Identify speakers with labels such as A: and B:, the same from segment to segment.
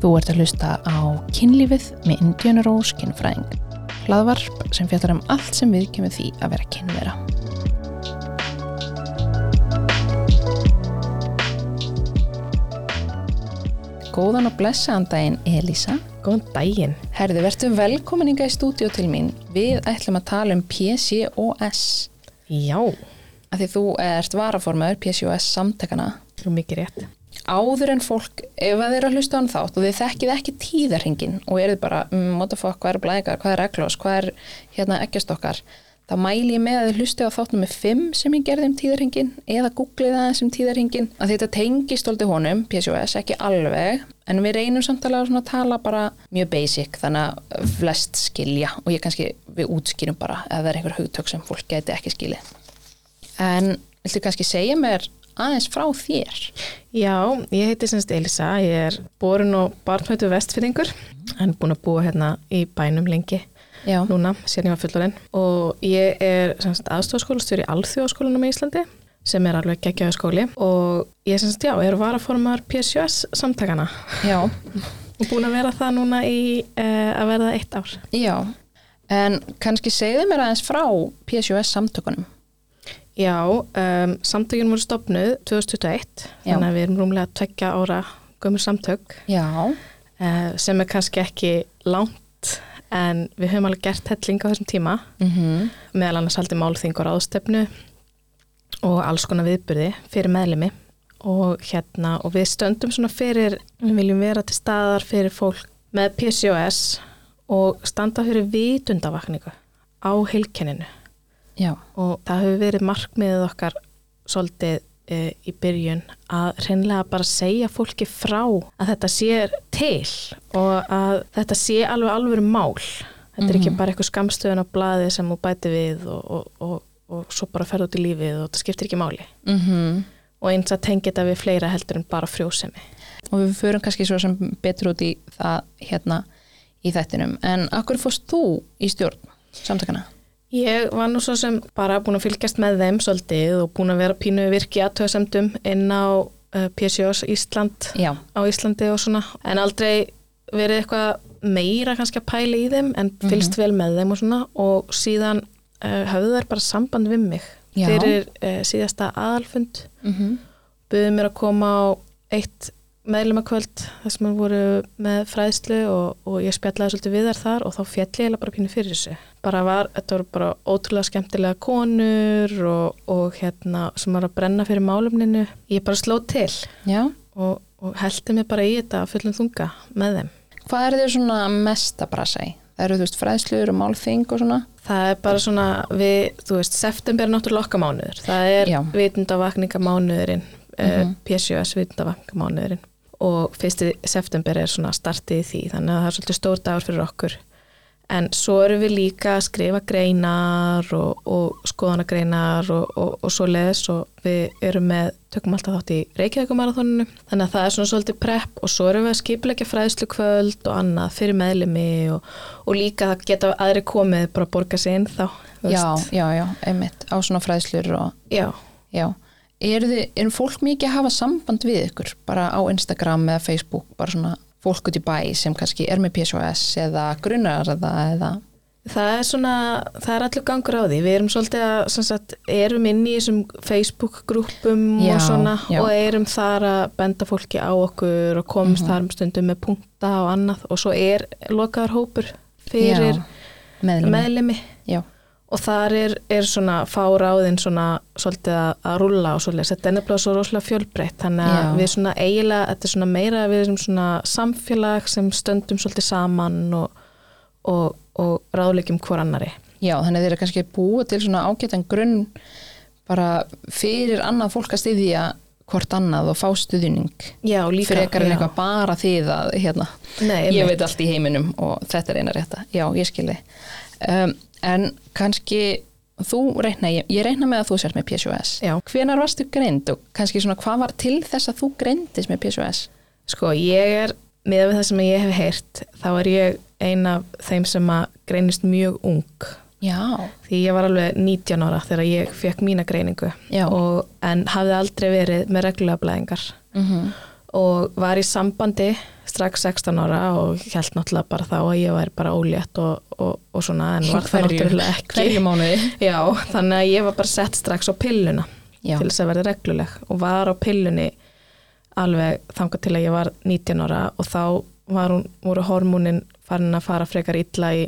A: Þú ert að hlusta á kynlífið með Indiana Rose kynfræðing. Hlaðvarp sem fjallar um allt sem við kemur því að vera kynvera. Góðan og blessaðan daginn Elisa.
B: Góðan daginn.
A: Herði, verður velkomin inga í stúdíu til mín. Við ætlum að tala um PCOS.
B: Já,
A: Af því þú ert varaformaður PCOS samtakana.
B: þú mikið rétt.
A: áður en fólk, ef það eru að hlusta á hann þátt og þið þekkið ekki tíðarhingin og eruð bara, mm, what the fuck, hvað er blæðingar, hvað er reglós, hvað er hérna ekkjastokkar þá mæli ég með að þið hlusti á þáttum með 5 sem ég gerði um tíðarhingin eða googlið aðeins um tíðarhingin að þetta tengist aldrei honum, PSOS, ekki alveg en við reynum samtala að svona tala bara mjög basic, þannig að flest skilja og ég kannski, við útskýrum bara ef það er einhver hugtök sem fólk gæti ekki skilið en viltu kannski segja mér aðeins frá þér
B: Já, ég heiti semst Elisa, ég er borun og barnhættu vestfyrringur en búin að búa hérna í bænum lengi
A: Já.
B: núna, sér ég var fullorinn og ég er semst aðstofskólastjóri í Alþjóðaskólanum í Íslandi sem er alveg geggjaðu skóli og ég semst, já, er varaformar PSJS samtakana
A: Já,
B: og búin að vera það núna í uh, að verða eitt ár.
A: já. En kannski segðu mér aðeins frá PSOS samtökunum.
B: Já, um, samtökin voru stopnuð 2021,
A: Já.
B: þannig að við erum rúmlega tvekja ára gömur samtök
A: Já.
B: uh, sem er kannski ekki langt en við höfum alveg gert helling á þessum tíma
A: Mm
B: meðal annars haldið málþingur áðstefnu og alls konar viðburði fyrir meðlimi og hérna og við stöndum svona fyrir við viljum vera til staðar fyrir fólk með PCOS og standa fyrir vitundavakningu á heilkenninu
A: Já,
B: og það hefur verið markmiðið okkar svolítið e, í byrjun að hreinlega bara segja fólki frá að þetta sé til og að þetta sé alveg alveg mál. Þetta er ekki bara eitthvað skamstöðun á blaði sem þú bæti við og, og, og, og svo bara ferð út í lífið og það skiptir ekki máli.
A: mm
B: Og eins að tengja þetta við fleira heldur en bara frjósemi.
A: og við förum kannski svo sem betur út í það hérna í þættinum. En akkur fórst þú í stjórn samtökana?
B: Ég var nú svo sem bara búin að fylgjast með þeim svolítið og búin að vera pínu virki aðtöðsemdum inn á uh, PCOS Ísland
A: Já.
B: á Íslandi og svona en aldrei verið eitthvað meira kannski að pæla í þeim en fylgst vel með þeim og svona og síðan uh, höfðu þær bara samband við mig
A: Já.
B: fyrir uh, síðasta aðalfund
A: Mm
B: buðu mér að koma á eitt meðlumakvöld þar sem hann voru með fræðslu og, og ég spjallaði svolítið við þar þar og þá fjalli ég eiginlega bara pínu fyrir þessu. Bara var, þetta voru bara ótrúlega skemmtilega konur og, og hérna sem var að brenna fyrir málumninu. Ég bara sló til
A: Já.
B: og, og heldi mig bara í þetta að fullum þunga með þeim.
A: Hvað eru þér svona mest að brasa í? Það eru þú veist fræðslur og málþing og svona?
B: Það er bara svona við, þú veist, september er náttúrulega okkamánuður. Það er
A: Já.
B: vitundavakningamánuðurinn, mm PSJS vitundavakningamánuðurinn og fyrsti september er svona startið í því, þannig að það er svolítið stór dagur fyrir okkur. En svo erum við líka að skrifa greinar og, og skoðanagreinar og, og, og svo leðis og við erum með, tökum alltaf þátt í Reykjavíkumarathoninu, þannig að það er svona svolítið prep og svo erum við að skipleggja fræðslu kvöld og annað fyrir meðlimi og, og líka það geta aðri komið bara að borga sig inn þá. þú
A: Já,
B: veist.
A: já, já, einmitt. Á svona fræðslur og
B: Já.
A: Já, eru þið, erum fólk mikið að hafa samband við ykkur, bara á Instagram eða Facebook, bara svona fólk út í bæ sem kannski er með PSOS eða grunnar eða, eða
B: Það er svona, það er allur gangur á því. Við erum svolítið að, sem sagt, erum inn í þessum Facebook-grúpum
A: Já,
B: og svona
A: já.
B: og erum þar að benda fólki á okkur og komst
A: Mhm.
B: þar um stundum með punkta og annað og svo er lokaður hópur fyrir
A: meðlum.
B: meðlimi
A: Já,
B: og þar er, er svona fáráðin svona svolítið að, að rúlla og svolítið. Þetta er nefnilega svo rosalega fjölbreytt þannig að
A: Já.
B: við svona eiginlega, þetta er svona meira að við erum svona samfélag sem stöndum svolítið saman og, og, og ráðleikjum hvor annari.
A: já, þannig að þeir eru kannski að búa til svona ágætan grunn bara fyrir annað fólk að styðja hvort annað og fá stuðning
B: Já, líka.
A: frekar en
B: já.
A: eitthvað bara þið að hérna,
B: Nei,
A: ég
B: einmitt.
A: veit allt í heiminum og þetta er eina rétta, já ég skilði um, en kannski þú reikna, ég, ég reikna með að þú sért með PSOS,
B: Já.
A: hvenar varstu greind og kannski svona hvað var til þess að þú greindist með PSOS?
B: Sko, ég er, með við það sem ég hef heyrt, þá er ég ein af þeim sem að greinist mjög ung.
A: Já,
B: Því ég var alveg 19 ára þegar ég fekk mína greiningu.
A: Já.
B: Og, en hafði aldrei verið með reglulega blæðingar.
A: mm
B: Og og var í sambandi strax 16 ára og held náttúrulega bara þá að ég væri bara ólétt og, og, og svona en var það náttúrulega ekki
A: hverju mánuði
B: Já, þannig að ég var bara sett strax á pilluna
A: Já.
B: til þess að verða regluleg og var á pillunni alveg þangað til að ég var 19 ára og þá var hún, voru hormónin farin að fara frekar illa í,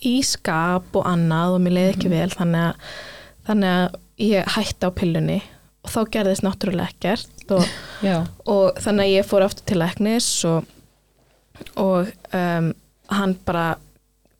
B: í skap og annað og mér leiði
A: Mhm.
B: ekki vel þannig að, þannig að ég hætti á pillunni og þá gerðist náttúrulega ekkert og,
A: já,
B: og þannig að ég fór aftur til læknis og, og um, hann bara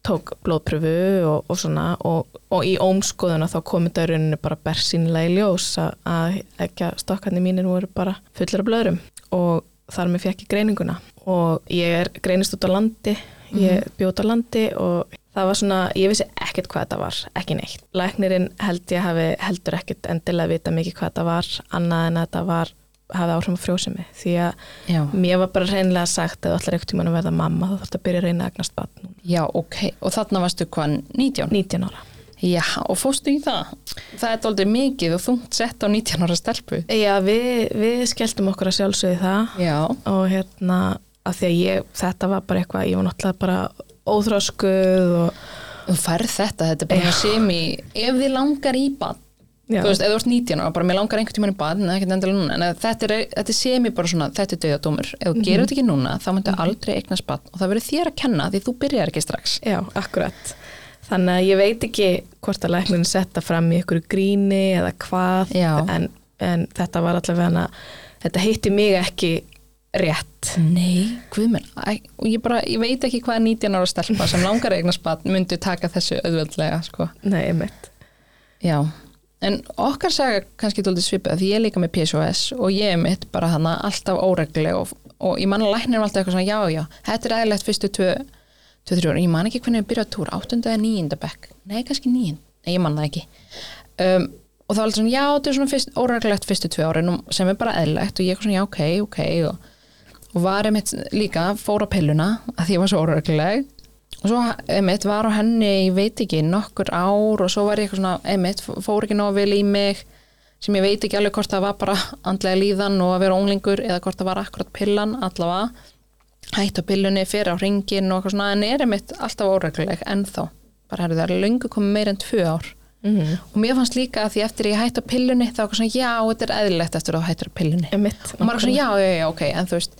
B: tók blóðpröfu og, og svona og, og í ómskoðuna þá komið þetta í rauninu bara bersýnilega í ljós að- að ekki að stokkarnir mínir voru bara fullir af blöðrum og þar með fekk ég greininguna og ég er greinist út á landi ég bjó út á landi og það var svona, ég vissi ekkert hvað þetta var ekki neitt. Læknirinn held ég hafi heldur ekkert endilega vita mikið hvað þetta var annað en að þetta var hafi áhrifum á frjósemi því að
A: já,
B: mér var bara reynilega sagt að þú ætlar ekkert tímann að verða mamma þá þarf að byrja að reyna að agnast vatn
A: já, ok og þarna varstu hvað, 19?
B: 19 ára
A: Já, og fórstu í það það er aldrei mikið og þungt sett á 19 ára stelpu
B: Já, við, við skelltum okkur að sjálfsögðu það
A: já,
B: og hérna að því að ég, þetta var bara eitthvað ég var náttúrulega bara óþroskuð og
A: þú færð þetta, þetta er bara sem í ef þið langar í bad
B: Já.
A: þú veist, ef þú ert 19 ára, bara mér langar einhvern tímann í bad en ekkert endilega núna, en að þetta er, þetta er sem í bara svona, þetta er döðadómur ef þú gerir þetta ekki núna, þá myndu aldrei eignast bad og það verður þér að kenna því þú byrjar ekki strax
B: Já, akkurat. Þannig að ég veit ekki hvort að læknin setta fram í ykkur gríni eða hvað,
A: Já.
B: en, en þetta var allavega hana, þetta heitti mig ekki rétt.
A: Nei, guðmenn, og ég bara, ég veit ekki hvað 19 ára stelpa sem langar að eignast barn myndu taka þessu auðveldlega, sko.
B: Nei, einmitt.
A: Já, en okkar saga kannski tóldi svipað, því ég er líka með PSOS og ég er mitt bara hana alltaf óregluleg og, og ég manna læknir um alltaf eitthvað svona, já, já, þetta er eðlilegt fyrstu 2-3 ára, ég man ekki hvernig við byrjaði túr, 8. eða 9. bekk, nei, kannski 9, nei, ég man það ekki. Um, og það var alltaf svona, já, þetta er svona fyrst, óreglulegt fyrstu 2 ára, sem er bara eðlilegt og ég er svona, já, ok, ok, og og var einmitt líka, fór á pilluna að því ég var svo óregluleg og svo einmitt var á henni, ég veit ekki nokkur ár og svo var ég eitthvað svona einmitt, fór ekki nóg vel í mig sem ég veit ekki alveg hvort það var bara andlega líðan og að vera unglingur eða hvort það var akkurat pillan allavega hætt á pillunni, fyrir á ringin og eitthvað svona en er einmitt alltaf óregluleg ennþá bara herrðu það er löngu komið meir en tvö ár
B: Mm.
A: og mér fannst líka að því eftir ég hætt á pillunni þá var eitthvað svona já, þetta er eðlilegt eftir að þú hættir á pillunni
B: Einmitt.
A: og maður er svona já, já, já, ok, en þú veist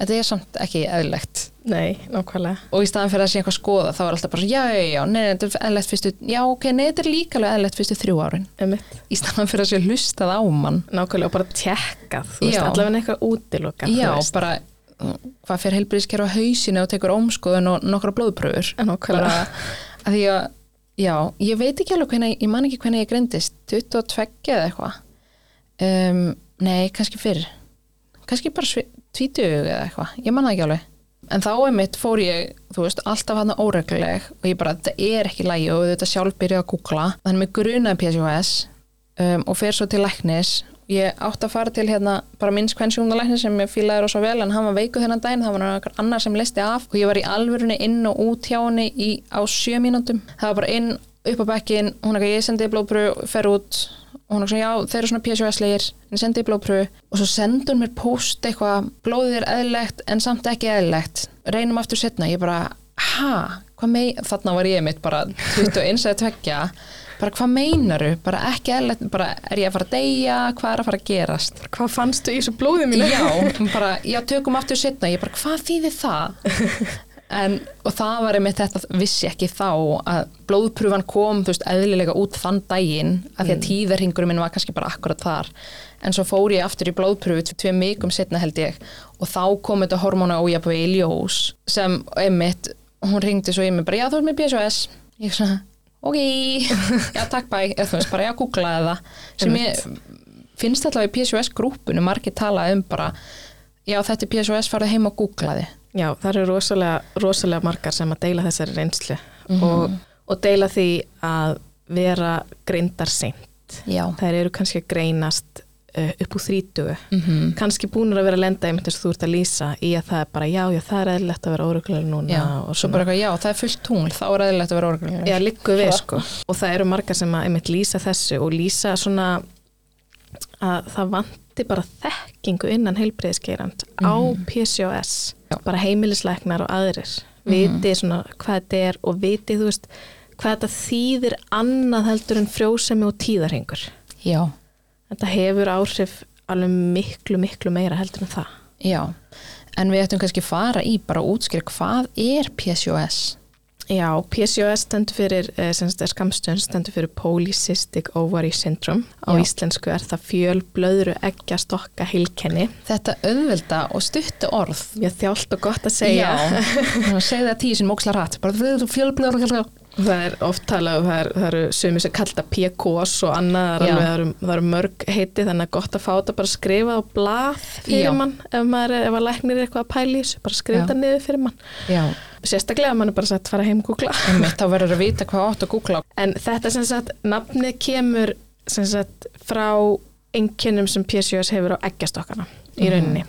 A: þetta er samt ekki eðlilegt
B: Nei, nákvæmlega.
A: og í staðan fyrir að sé eitthvað að skoða þá er alltaf bara svona, já, já, já, nei, nei, þetta er eðlilegt fyrstu já, ok, nei, þetta er líka alveg eðlilegt fyrstu þrjú árin
B: Einmitt.
A: í staðan fyrir að sé hlustað á mann
B: Nákvæmlega og bara tjekkað, þú veist,
A: Já.
B: allavega eitthvað útilokað,
A: já,
B: þú veist.
A: bara mm, hvað fyrir heilbríðiskerfa hausinu og tekur ómskoðun og nokkra blóðpröfur
B: Nákvæmlega.
A: að því að, já, ég veit ekki alveg hvernig, ég man ekki hvernig ég grindist 22 eða eitthvað um, nei, kannski fyrr kannski bara svi- 20 eða eitthvað, ég man það ekki alveg en þá er mitt fór ég, þú veist, alltaf hann óregluleg og ég bara, þetta er ekki lægi og þetta sjálf byrjaði að googla þannig mig grunaði PCOS um, og fer svo til læknis ég átti að fara til hérna bara minns hvern sjúknalæknis sem ég fílaði rosa vel en hann var veiku þennan daginn, það var einhver annar sem listi af og ég var í alvörunni inn og út hjá henni í, á sjö mínútum það var bara inn, upp á bekkin, hún er ekki ég sendi blóðbröð, fer út og hún er svona, já, þeir eru svona PSOS-legir en ég sendi í blóðpröfu og svo sendur hún mér post eitthvað, blóðið er eðlilegt en samt ekki eðlilegt, reynum aftur setna, ég bara, ha, hvað mein þarna var ég mitt bara 21 eða tveggja, bara hvað meinaru bara ekki eðlilegt, bara er ég að fara að deyja hvað er að fara að gerast
B: Hvað fannstu í þessu blóði mínu?
A: já, bara, já, tökum aftur setna ég bara, hvað þýðir það en, og það var einmitt þetta vissi ekki þá að blóðprúfan kom þú veist, eðlilega út þann daginn af því að tíðarhingurinn minn var kannski bara akkurat þar en svo fór ég aftur í blóðprúfu tve- tveim mikum setna held ég og þá kom þetta hormóna ójafnveg í ljós sem einmitt, hún ringdi svo í mig bara, já, þú ert með PSOS ég svona, ok, já, takk bæ eða þú veist, bara, já, googlaði það sem ég finnst allavega í PSOS-grúpunu margir tala um bara já þetta er PSOS farið heim og googlaði
B: Já, það eru rosalega, rosalega margar sem að deila þessari reynslu og, og deila því að vera greindar seint.
A: já,
B: Þær eru kannski að greinast uh, upp úr þrítugu.
A: Mhm.
B: Kannski búnur að vera að lenda einmitt þess að þú ert að lýsa í að það er bara já, já, það er eðlilegt að vera óruglega núna
A: já.
B: og
A: svo
B: svona.
A: bara eitthvað já það er fullt tungl þá er eðlilegt að vera orðgrunnlega
B: Já, liggur við sko. Og það eru margar sem að einmitt lýsa þessu og lýsa svona að það vanti bara þekkingu innan heilbreyðiskeirand á PCOS
A: Já.
B: bara heimilisleiknar og aðrir viti svona hvað þetta er og viti þú veist hvað þetta þýðir annað heldur en frjósemi og tíðarhengur
A: já,
B: þetta hefur áhrif alveg miklu miklu meira heldur en það
A: já en við ættum kannski fara í bara að útskýra hvað er PCOS
B: Já, PCOS stendur fyrir eh, sem sagt er skamstöðun stendur fyrir Polycystic Ovary Syndrome á
A: Já.
B: íslensku er það fjöl, blöðru, eggja, stokka, heilkenni
A: þetta auðvelda og stuttu orð
B: mjög þjált og gott að segja
A: Já, Svona, segðu það tíu sinni móksla rætt bara þú fjölblöður
B: það er oft talað um það, er, það eru sumi sem kallta PCOS og annað það
A: Já.
B: er alveg, það, eru, það eru mörg heiti þannig að gott að fá þetta bara skrifað á blað fyrir
A: Já.
B: mann ef, maður, er- ef að læknir er eitthvað að pæli þessu bara skrifa
A: Já.
B: þetta niður fyrir mann
A: Já,
B: sérstaklega að mann er bara sagt fara heim og googla
A: einmitt, þá verður að vita hvað átt að googla
B: En þetta sem sagt, nafnið kemur sem sagt frá einkennum sem PCOS hefur á eggjastokkana í rauninni.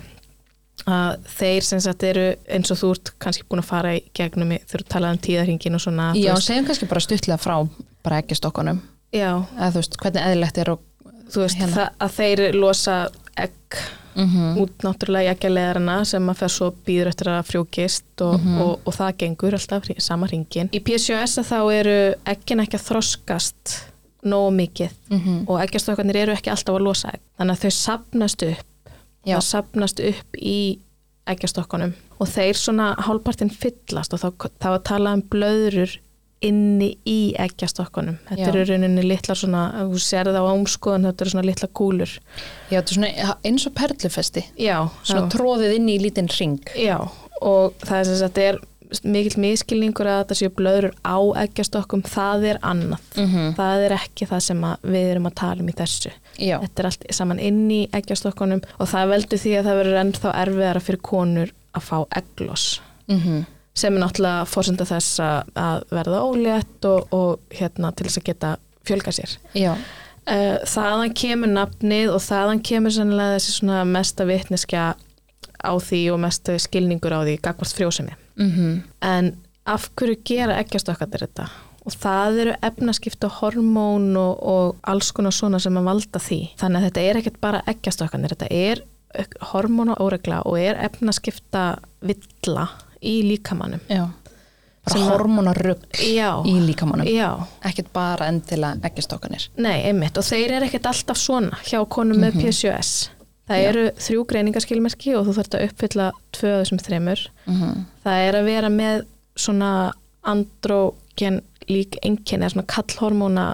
B: Að þeir sem sagt eru eins og þú ert kannski búin að fara í gegnum, í- þegar þú talaði um tíðarhingin og svona. þú
A: Já,
B: veist,
A: segjum kannski bara stuttlega frá bara ekki stokkanum
B: já
A: eða þú veist, hvernig eðlilegt er og
B: þú veist,
A: Hérna.
B: það, að þeir losa egg
A: Mhm.
B: út náttúrulega í eggjaleðarana sem að fer svo býður eftir að frjókist og, og, og það gengur alltaf hring- sama ringin. Mhm. Í PCOS að þá eru eggin ekki að þroskast nógu mikið
A: Mhm.
B: og eggjastokkarnir eru ekki alltaf að losa egg. Þannig að þau sapnast upp,
A: Já.
B: það sapnast upp í eggjastokkunum og þeir svona hálpartinn fyllast og þá, þá að tala um blöðrur inni í eggjastokkunum. Þetta
A: Já.
B: eru í rauninni litlar svona, ef þú sér það á ámskoðan, þetta eru svona litla kúlur.
A: Já, þetta er svona eins og perlufesti
B: Já,
A: svona tróðið inn í lítinn ring
B: Já, og það er sem sagt er mikill miskilningur að þetta séu blöður á eggjastokkum, það er annað.
A: Mhm.
B: Það er ekki það sem að við erum að tala um í þessu.
A: Já,
B: Þetta er allt saman inn í eggjastokkunum og það veldur því að það verður ennþá erfiðara fyrir konur að fá eggloss
A: mm
B: sem er náttúrulega fórsenda þess að, að verða ólétt og, og hérna til þess að geta fjölga sér.
A: já,
B: Uh, þaðan kemur nafnið og þaðan kemur sannlega þessi svona mesta vitneskja á því og mesta skilningur á því gagvart frjósemi.
A: mm
B: En af hverju gera eggjastokkarnir þetta? Og það eru efnaskipta hormón og, og alls konar svona sem að valda því. Þannig að þetta er ekkert bara eggjastokkarnir, þetta er hormón og óregla og er efnaskipta villa í líkamannum.
A: já bara
B: Sem að-
A: hormonarugl
B: Já,
A: í líkamanum
B: já.
A: ekkert bara endilega ekki stokkanir
B: Nei, einmitt, og þeir eru ekkert alltaf svona hjá konum með PCOS. Það
A: Mhm. Já.
B: eru þrjú greiningaskilmerki og þú þarft að uppfylla tvö af þessum þremur.
A: mm
B: Það er að vera með svona andrógen lík einkenni, eða svona kallhormóna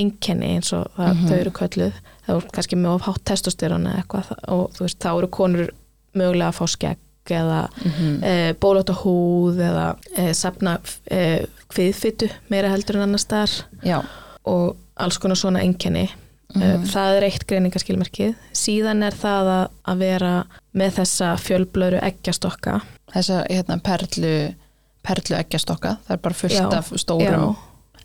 B: einkenni eins og það, þau eru kölluð. Það eru kannski með of hátt testosterona eða eitthvað það- og þú veist, þá eru konur mögulega að fá skegg eða mm
A: Mhm. Eh,
B: e, bólóta húð eða e, sapna e, kviðfytu meira heldur en annars staðar
A: Já,
B: og alls konar svona enginni
A: eh, Mhm.
B: það er eitt greiningaskilmerkið síðan er það að, að vera með þessa fjölblöru eggjastokka
A: þessa hérna, perlu perlu ekki stokka, það er bara fullt
B: Já,
A: af stórum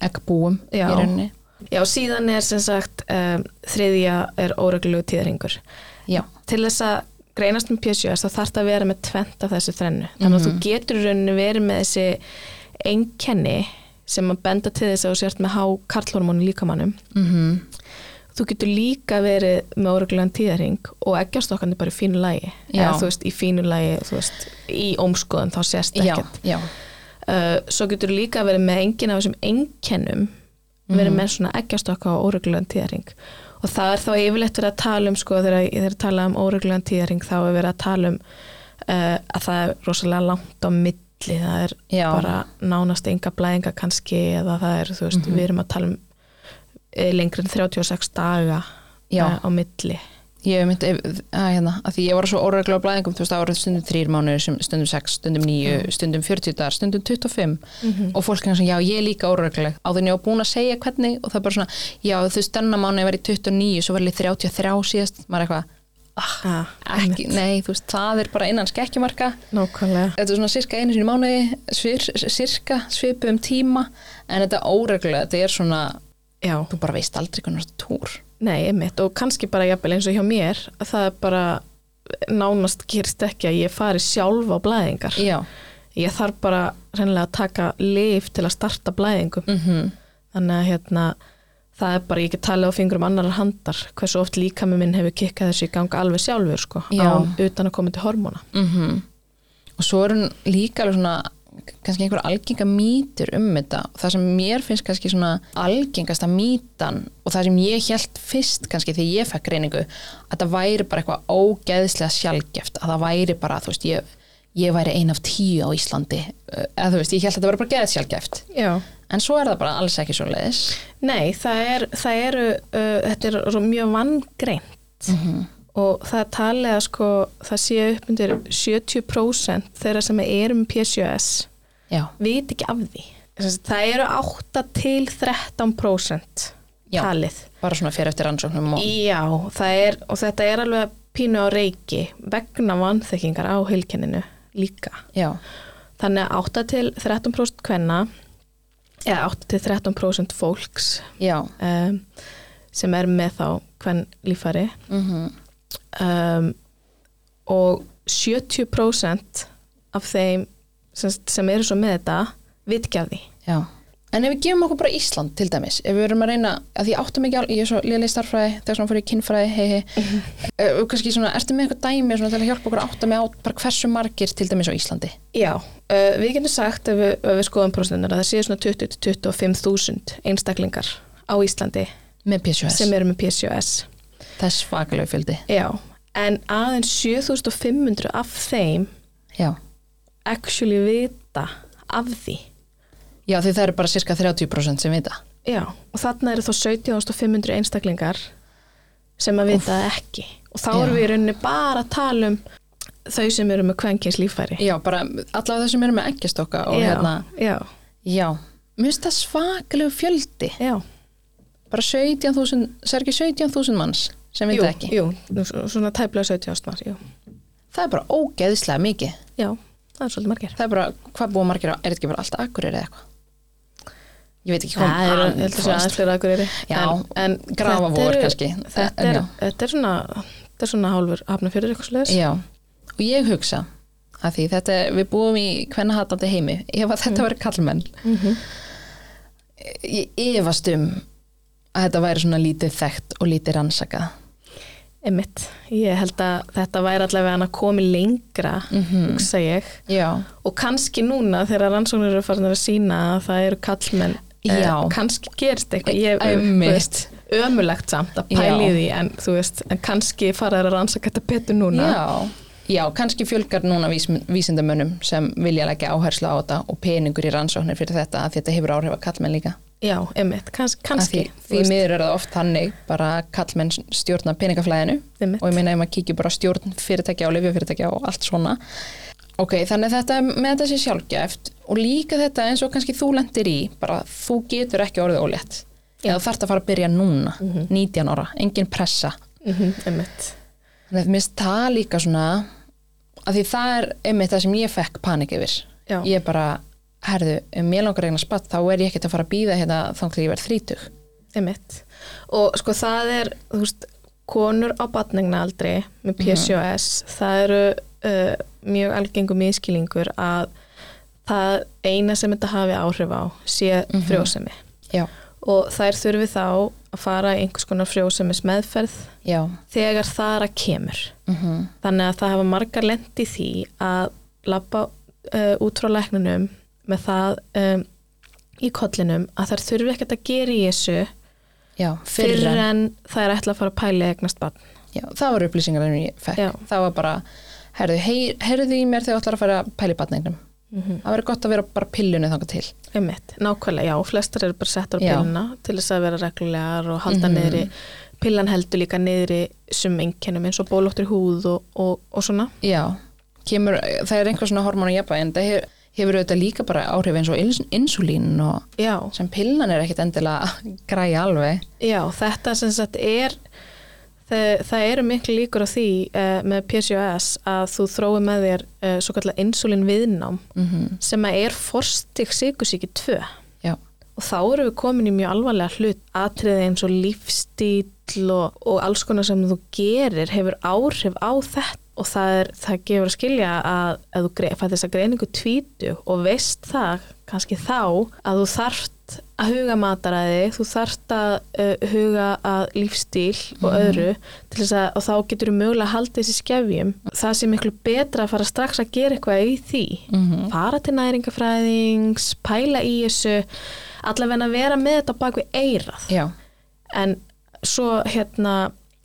A: eggbúum í
B: Já.
A: rauninni
B: já, síðan er sem sagt um, þriðja er óreglulegu tíðringur
A: Já,
B: til þess að greinast með PCOS þá þarf það að vera með tvent af þessu þrennu þannig að
A: Mhm.
B: þú getur í rauninni verið með þessi einkenni sem að benda til þess að þú sért með há karlhormónu líkamannum
A: mm
B: þú getur líka verið með óreglulegan tíðarhing og eggjastokkan er bara í fínu lagi
A: Já.
B: eða þú veist í fínu lagi þú veist, í ómskoðun þá sérst
A: já,
B: ekkert
A: já,
B: uh, svo getur líka verið með engin af þessum einkennum verið
A: Mhm.
B: með svona eggjastokka og óreglulegan tíðarhing og það er þá yfirleitt verið að tala um sko þegar þeir tala um óreglulegan tíðarhing þá er verið að tala um uh, að það er rosalega langt á milli það er
A: já,
B: bara nánast enga blæðinga kannski eða það er, þú veist,
A: Mhm.
B: við erum að tala um eh, lengri en 36 daga
A: Já.
B: eh, á milli
A: ég myndi að, hérna, að því ég var svo óregla á blæðingum, þú veist, það voru stundum þrýr mánuður, sem- stundum sex, stundum níu stundum 40 dagar, stundum 25 og fólk er svona, já, ég er líka óregla á því ég var búin að segja hvernig og það er bara svona já, þú veist, þennan mánuði var í 29 svo var ég 33 síðast, maður er eitthvað ah,
B: ah,
A: ekki, nei, þú veist, það er bara innan skekkjumarka
B: Nákvæmlega
A: þetta er svona sirka einu sinni í mánuði svir, sirka, svipu um tíma en þetta óregla, þetta er svona
B: Já,
A: þú bara veist aldrei hvernig þetta túr
B: nei, einmitt og kannski bara jafnvel eins og hjá mér að það er bara nánast gerist ekki að ég fari sjálf á blæðingar
A: já,
B: ég þarf bara reynilega að taka lif til að starta blæðingum
A: mhm
B: þannig að hérna það er bara, ég get talið á fingrum annarar handar hversu oft líkami minn hefur kikkað þessu í ganga alveg sjálfur sko,
A: Já. Mm.
B: án, utan að koma til hormóna
A: og svo er hún líka alveg svona kannski einhver algenga mýtur um þetta það sem mér finnst kannski svona algengasta mýtan og það sem ég held fyrst kannski þegar ég fekk greiningu að það væri bara eitthvað ógeðslega sjálfgeft að það væri bara, þú veist, ég, ég væri ein af tíu á Íslandi eða þú veist, ég held að þetta væri bara geðsjálfgeft
B: Já.
A: en svo er það bara alls ekki svo leiðis
B: Nei, það, er, það eru, uh, þetta er svo mjög vangreint og það er talið að sko, það sé upp undir 70% þeirra sem eru með PCOS
A: já,
B: vit ekki af því. Þess að Það eru 8 til 13%
A: Já.
B: talið.
A: bara svona fyrir eftir rannsóknum og,
B: Já, það er, og þetta er alveg pínu á reiki vegna vanþekkingar á heilkenninu líka.
A: já,
B: Þannig að 8 til 13% kvenna eða 8 til 13% fólks
A: já
B: um, sem er með þá hvern lífari
A: mm
B: um, og 70% af þeim sem, sem eru svo með þetta vit ekki af því.
A: Já. En ef við gefum okkur bara Ísland til dæmis, ef við erum að reyna, að því ég áttum ekki alveg, ég er svo lélega starffræði, þegar svona fyrir kynfræði, hei hei, og kannski svona, ertu með eitthvað dæmi svona, til að hjálpa okkur að átta með á bara hversu margir til dæmis á Íslandi?
B: Já, uh, við getum sagt ef við, ef við skoðum prosentunar að það séu svona 20-25.000 einstaklingar á Íslandi
A: Með PCOS,
B: sem eru með PCOS.
A: það er svakalegu fjöldi.
B: Já, en aðeins 7.500 af þeim
A: Já.
B: actually vita af því.
A: Já, því það eru bara cirka 30% sem vita.
B: Já, og þarna eru þá 17.500 einstaklingar sem að vita það ekki. Og þá
A: Já.
B: erum við í rauninni bara að tala um þau sem eru með kvenkins líffæri.
A: Já, bara allavega þau sem eru með ekkjastokka og
B: já,
A: hérna,
B: já,
A: já, mér finnst það svakalegu fjöldi,
B: já.
A: bara 17.000, sergi 17.000 manns sem
B: Jú,
A: vita ekki.
B: jú, nú svo- svona tæplega 17.000 var, jú.
A: Það er bara ógeðislega mikið.
B: Já, það er svolítið margir.
A: það er bara, hvað búa margir á, er þetta ekki bara alltaf akkurir eða eitthvað? Ég veit ekki hvað
B: Það eru, ég held að segja aðeins fleira að hverju
A: Já, Grafavogur kannski.
B: Þetta
A: En
B: er,
A: já.
B: þetta er svona, þetta er svona hálfur hafna fyrir eitthvað slags.
A: Já, og ég hugsa að því þetta, við búum í kvennahatandi heimi, ef að
B: Mhm.
A: þetta væri kallmenn ég efast um að þetta væri svona lítið þekkt og lítið rannsakað
B: Einmitt, ég held að þetta væri allavega hann að komi lengra,
A: Mhm.
B: hugsa ég.
A: Já,
B: og kannski núna þegar rannsóknir eru farin að sína að það eru kallmenn eh,
A: Já.
B: kannski gerist eitthvað ég,
A: Einmitt.
B: þú veist, ömulegt samt að pæli
A: Já. því,
B: því en þú veist, en kannski fara að rannsaka þetta betur núna
A: já Já, kannski fjölgar núna vís, vísindamönnum sem vilja leggja áherslu á þetta og peningur í rannsóknir fyrir þetta að þetta hefur áhrif að kallmenn líka
B: já einmitt, kanns,
A: Af því,
B: kannski þú
A: því
B: veist,
A: miður er það oft þannig bara að kallmenn stjórna peningaflæðinu
B: Einmitt.
A: og ég meina ef maður kíkir bara á stjórn fyrirtækja og lifjafyrirtækja og allt svona ok, þannig að þetta með þetta sé sjálfgæft og líka þetta eins og kannski þú lendir í bara þú getur ekki orðið ólétt
B: Já.
A: eða þarft að fara að byrja núna 19 ára, engin pressa
B: mhm, einmitt,
A: þannig að minnst það líka svona að því það er einmitt það sem ég fekk panik yfir
B: Já.
A: ég bara, herðu, ef mér langar að eigna spatt þá er ég ekkert að fara að býða hérna þannig að ég verð þrítug
B: einmitt og sko það er, þú veist konur á batningna aldrei
A: Mhm.
B: með PCOS, það eru uh, mjög algengu miskilingur að það eina sem þetta hafi áhrif á sé
A: Mhm.
B: frjósemi
A: já,
B: og þær þurfi þá að fara í einhvers konar frjósemis meðferð
A: já,
B: þegar þar að kemur.
A: mhm
B: Þannig að það hafa margar lent í því að lappa uh, út frá lækninum með það um, í kollinum að þær þurfi ekkert að gera í þessu
A: Já,
B: fyrir
A: fyrir
B: en,
A: en
B: þær ætla að fara að pæli eignast barn.
A: já, það var upplýsingar en ég fekk
B: Já.
A: það var bara, herðu, hey, herðu í mér þegar þú ætlar að fara að pæli batningnum það verður gott að vera bara á pillunni þangað til
B: Einmitt, nákvæmlega, já, flestar eru bara settar á
A: Já.
B: pilluna til þess að vera reglulegar og halda mm niðri pillan heldur líka niðri sem einkennum eins og bólóttur húð og, og, og svona.
A: já, kemur, það er einhver svona hormón að jafna en það hefur, hefur auðvitað líka bara áhrif eins og ins, insulín og
B: Já.
A: sem pillan er ekkit endilega að græja alveg
B: Já, þetta sem sagt er það, það eru miklu líkur á því uh, með PCOS að þú þrói með þér uh, svo kallar insulin viðnám
A: Mhm.
B: sem að er forstig sikursíki 2
A: já,
B: og þá erum við komin í mjög alvarlega hlut atriði eins og lífstíl og, og alls konar sem þú gerir hefur áhrif á þetta og það, er, það gefur að skilja að ef þú fættist að greiningu tvítu og veist það kannski þá að þú þarft að huga mataræði, þú þarft að uh, huga að lífstíl og öðru til þess að og þá getur þú mögulega að halda þessi skefjum það sé miklu betra að fara strax að gera eitthvað í því,
A: mhm.
B: fara til næringafræðings, pæla í þessu allavega að vera með þetta bak við eirað
A: já,
B: en svo hérna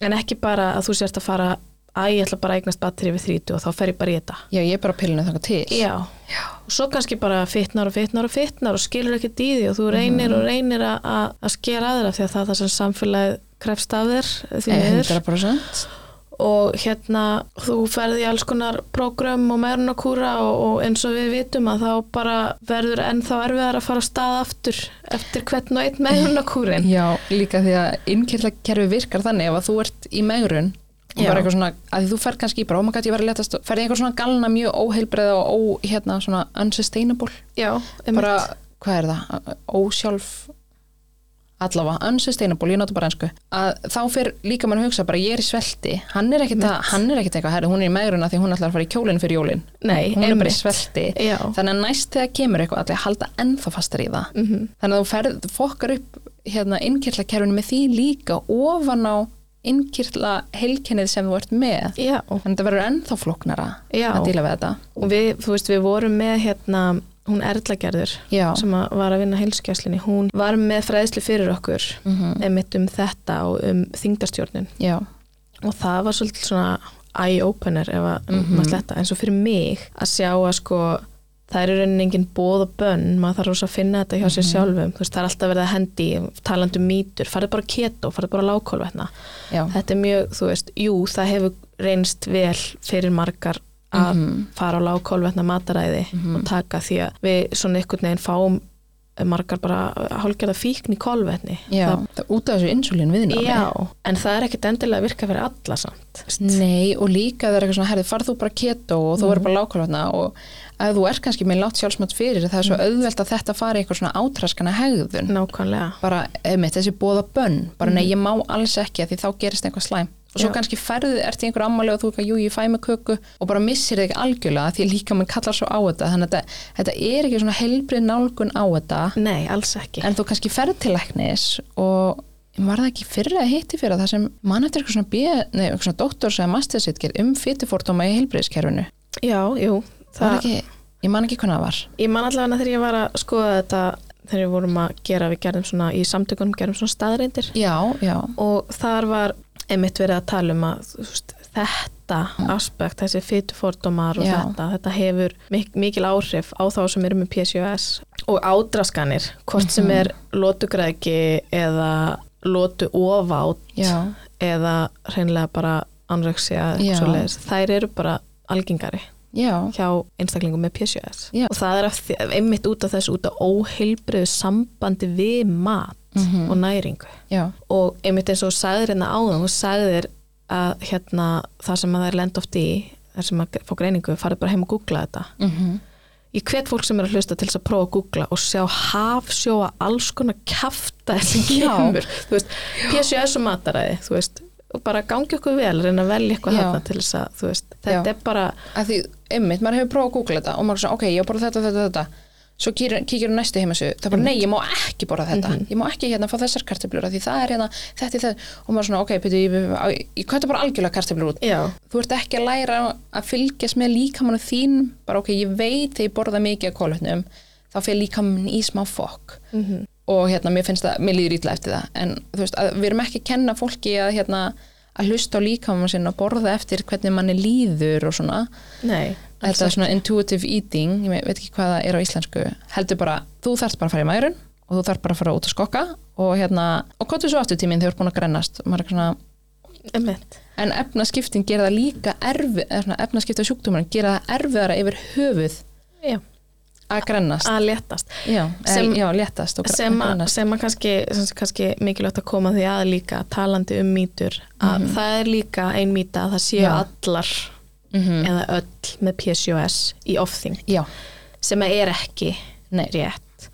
B: en ekki bara að þú sért að fara að ég ætla bara að eignast batteri við 30 og þá fer ég bara í þetta
A: já, ég er bara á pillinu þangað til
B: já, og svo kannski bara fitnar og fitnar og fitnar og skilur ekki dýði og þú reynir og reynir að- að að skera aðra því að það er það sem samfélagið krefst af þér því
A: Eh,
B: miður
A: 100%
B: og hérna þú ferði í alls konar prógram og mærunarkúra og, og eins og við vitum að þá bara verður ennþá erfiðar að fara af stað aftur eftir hvern og einn mærunarkúrin
A: Já, líka því að innkirlakerfi virkar þannig ef að þú ert í megrun og
B: Já.
A: bara eitthvað svona, að því þú fer kannski bara, oh my god, ég var að letast, ferði einhver svona galna mjög óheilbreða og ó, hérna, svona unsustainable,
B: já,
A: bara, hvað er það, ósjálf allavega, unsustainable, ég nota bara ennsku að þá fer líka mann að hugsa bara ég er í svelti, hann er ekkit að, hann er ekkit eitthvað herri, hún er í megrun að því hún ætlar að fara í kjólinn fyrir jólin
B: Nei,
A: hún er bara í
B: einmitt.
A: svelti
B: Já.
A: þannig að næst þegar kemur eitthvað allir halda ennþá fastar í það
B: Mhm.
A: -hmm. þannig að þú ferð, fokkar upp hérna innkirtlakerfinu með því líka ofan á innkirtla heilkennið sem þú ert með
B: Já,
A: þannig að það verður ennþá flóknara
B: Já.
A: að díla við þetta
B: og við, þú veist, við vorum með hérna, hún Erlagerður
A: Já.
B: sem að var að vinna heilskjæslinni, hún var með fræðslu fyrir okkur
A: Mhm.
B: einmitt um þetta og um þingdarstjórnin
A: já,
B: og það var svolítið svona eye-opener ef að um
A: Mhm.
B: maður sletta, eins og fyrir mig að sjá að sko það er í rauninni engin bóð og bönn maður þarf rosa að finna þetta hjá sér
A: Mhm.
B: sjálfum þú veist, það er alltaf verið að hendi, talandi um mýtur farið bara á keto, farið bara lágkólvetna
A: já,
B: þetta er mjög, þú veist, jú, það hefur reynst vel fyrir margar að
A: Mhm.
B: fara á lágkólvetna mataræði og taka því að við svona einhvern veginn fáum margar bara hálfgerða fíkn í kólvetni
A: já.
B: Það,
A: Það, út af þessu insulín viðnámi
B: já, en það er ekkit endilega að virka fyrir alla samt
A: Nei, og líka það er eitthvað svona, herði, farð þú bara keto og þú verður
B: Mhm.
A: bara lágkólvetna og að þú er kannski með látt sjálfsmátt fyrir það er
B: Mhm.
A: svo auðvelt að þetta fari í eitthvað svona átraskana hegðun
B: nákvæmlega,
A: bara, einmitt, þessi bóða bönn bara nei, ég má alls ekki að því þá gerist einhvað slæm og svo
B: Mhm. Já.
A: kannski ferðið, ert í einhver ammali og þú eitthvað, jú, ég fæ mig köku og bara missir þig algjörlega af því líka mann kallar svo á þetta þannig að þetta, þetta er ekki svona helbrið nálgun á þetta
B: nei, alls ekki
A: en þú kannski ferð til læknis og var það ekki fyrra að hitti fyrir það sem mann eftir eitthvað svona, B, nei, eitthvað svona doktors eða mastersittgerð um fytufórtóma í helbriðiskerfinu
B: já, jú,
A: Var
B: það,
A: ekki, ég man ekki hvernig það var
B: ég man allavega þegar ég var að skoða þetta þegar við vorum að gera, við gerðum svona í samtökunum gerum svona staðreindir
A: já, já,
B: og þar var einmitt verið að tala um að þú veist, þetta aspekt, þessi fytufordómar og
A: Já.
B: þetta, þetta hefur mik mikil áhrif á þá sem eru með PCOS og ádraskanir, hvort sem
A: Mhm.
B: er lótugræki eða lótu ofátt
A: Já.
B: eða hreinlega bara anorexia,
A: Já.
B: eitthvað svoleiðis. þær eru bara algengari
A: já,
B: hjá einstaklingum með PCOS
A: Já.
B: og það er af því, einmitt út af þessu út af óheilbriðu sambandi við mat
A: Mhm.
B: og næringu
A: já,
B: og einmitt eins og þú sagðir hérna áðan þú sagðir að hérna það sem að það er lend oft í þar sem að fá greiningu, farið bara heim og googla þetta
A: mhm,
B: ég hvet fólk sem er að hlusta til þess að prófa að googla og sjá hafsjóa alls konar kafta sem
A: Já.
B: kemur þú veist, PCS og mataræði þú veist, og bara gangi okkur vel reyna að velja eitthvað
A: Já.
B: þarna til þess að þú veist, þetta
A: Já.
B: er bara
A: að því, einmitt, maður hefur prófað að googla þetta og maður er svona, ok, ég borða þetta, þetta, þetta svo kýr- kíkir hún næstu heimasögu, það er bara, nei, ég má ekki borða þetta, ég má ekki hérna fá þessar kartöflur af því það er hérna, þetta er það og maður er svona, ok, byrju, ég, ég, ég kvæta bara algjörlega kartöflur út
B: já,
A: þú ert ekki að læra að fylgjast með líkamannu þín, bara ok, ég veit þegar ég borða mikið af kólvetnum, þá fyrir líkamann í smá fokk -hmm. og hérna, mér finnst það, mér líður ítla eftir það en þú veist, að, við erum ekki að kenna fólki að hérna, að hlusta á líkamann sinna og borða eftir hvernig manni líður og svona,
B: nei
A: þetta er svona intuitive eating, ég me- veit ekki hvað það er á íslensku, heldur bara, þú þarft bara að fara í mærun og þú þarft bara að fara út að skokka og hérna, og hvað svo aftur tíminn þegar þú ert búin að grennast, Og maður er eitthvað svona,
B: einmitt,
A: En efnaskiptin gera það líka erfið, eða svona efnaskipta sjúkdómarinn gera það erfiðara yfir höfuð
B: já,
A: að grennast.
B: að letast
A: Já, sem,
B: Ah, sem-
A: já, léttast og gr-
B: sem, að,
A: grennast.
B: sem að kannski, sem sé kannski mikilvægt að koma því að líka talandi um mýtur að það er líka ein mýta að það séu
A: Mhm. Já. Mhm.
B: allar eða öll með PCOS í ofþing
A: Já,
B: sem að er ekki
A: Nei.
B: rétt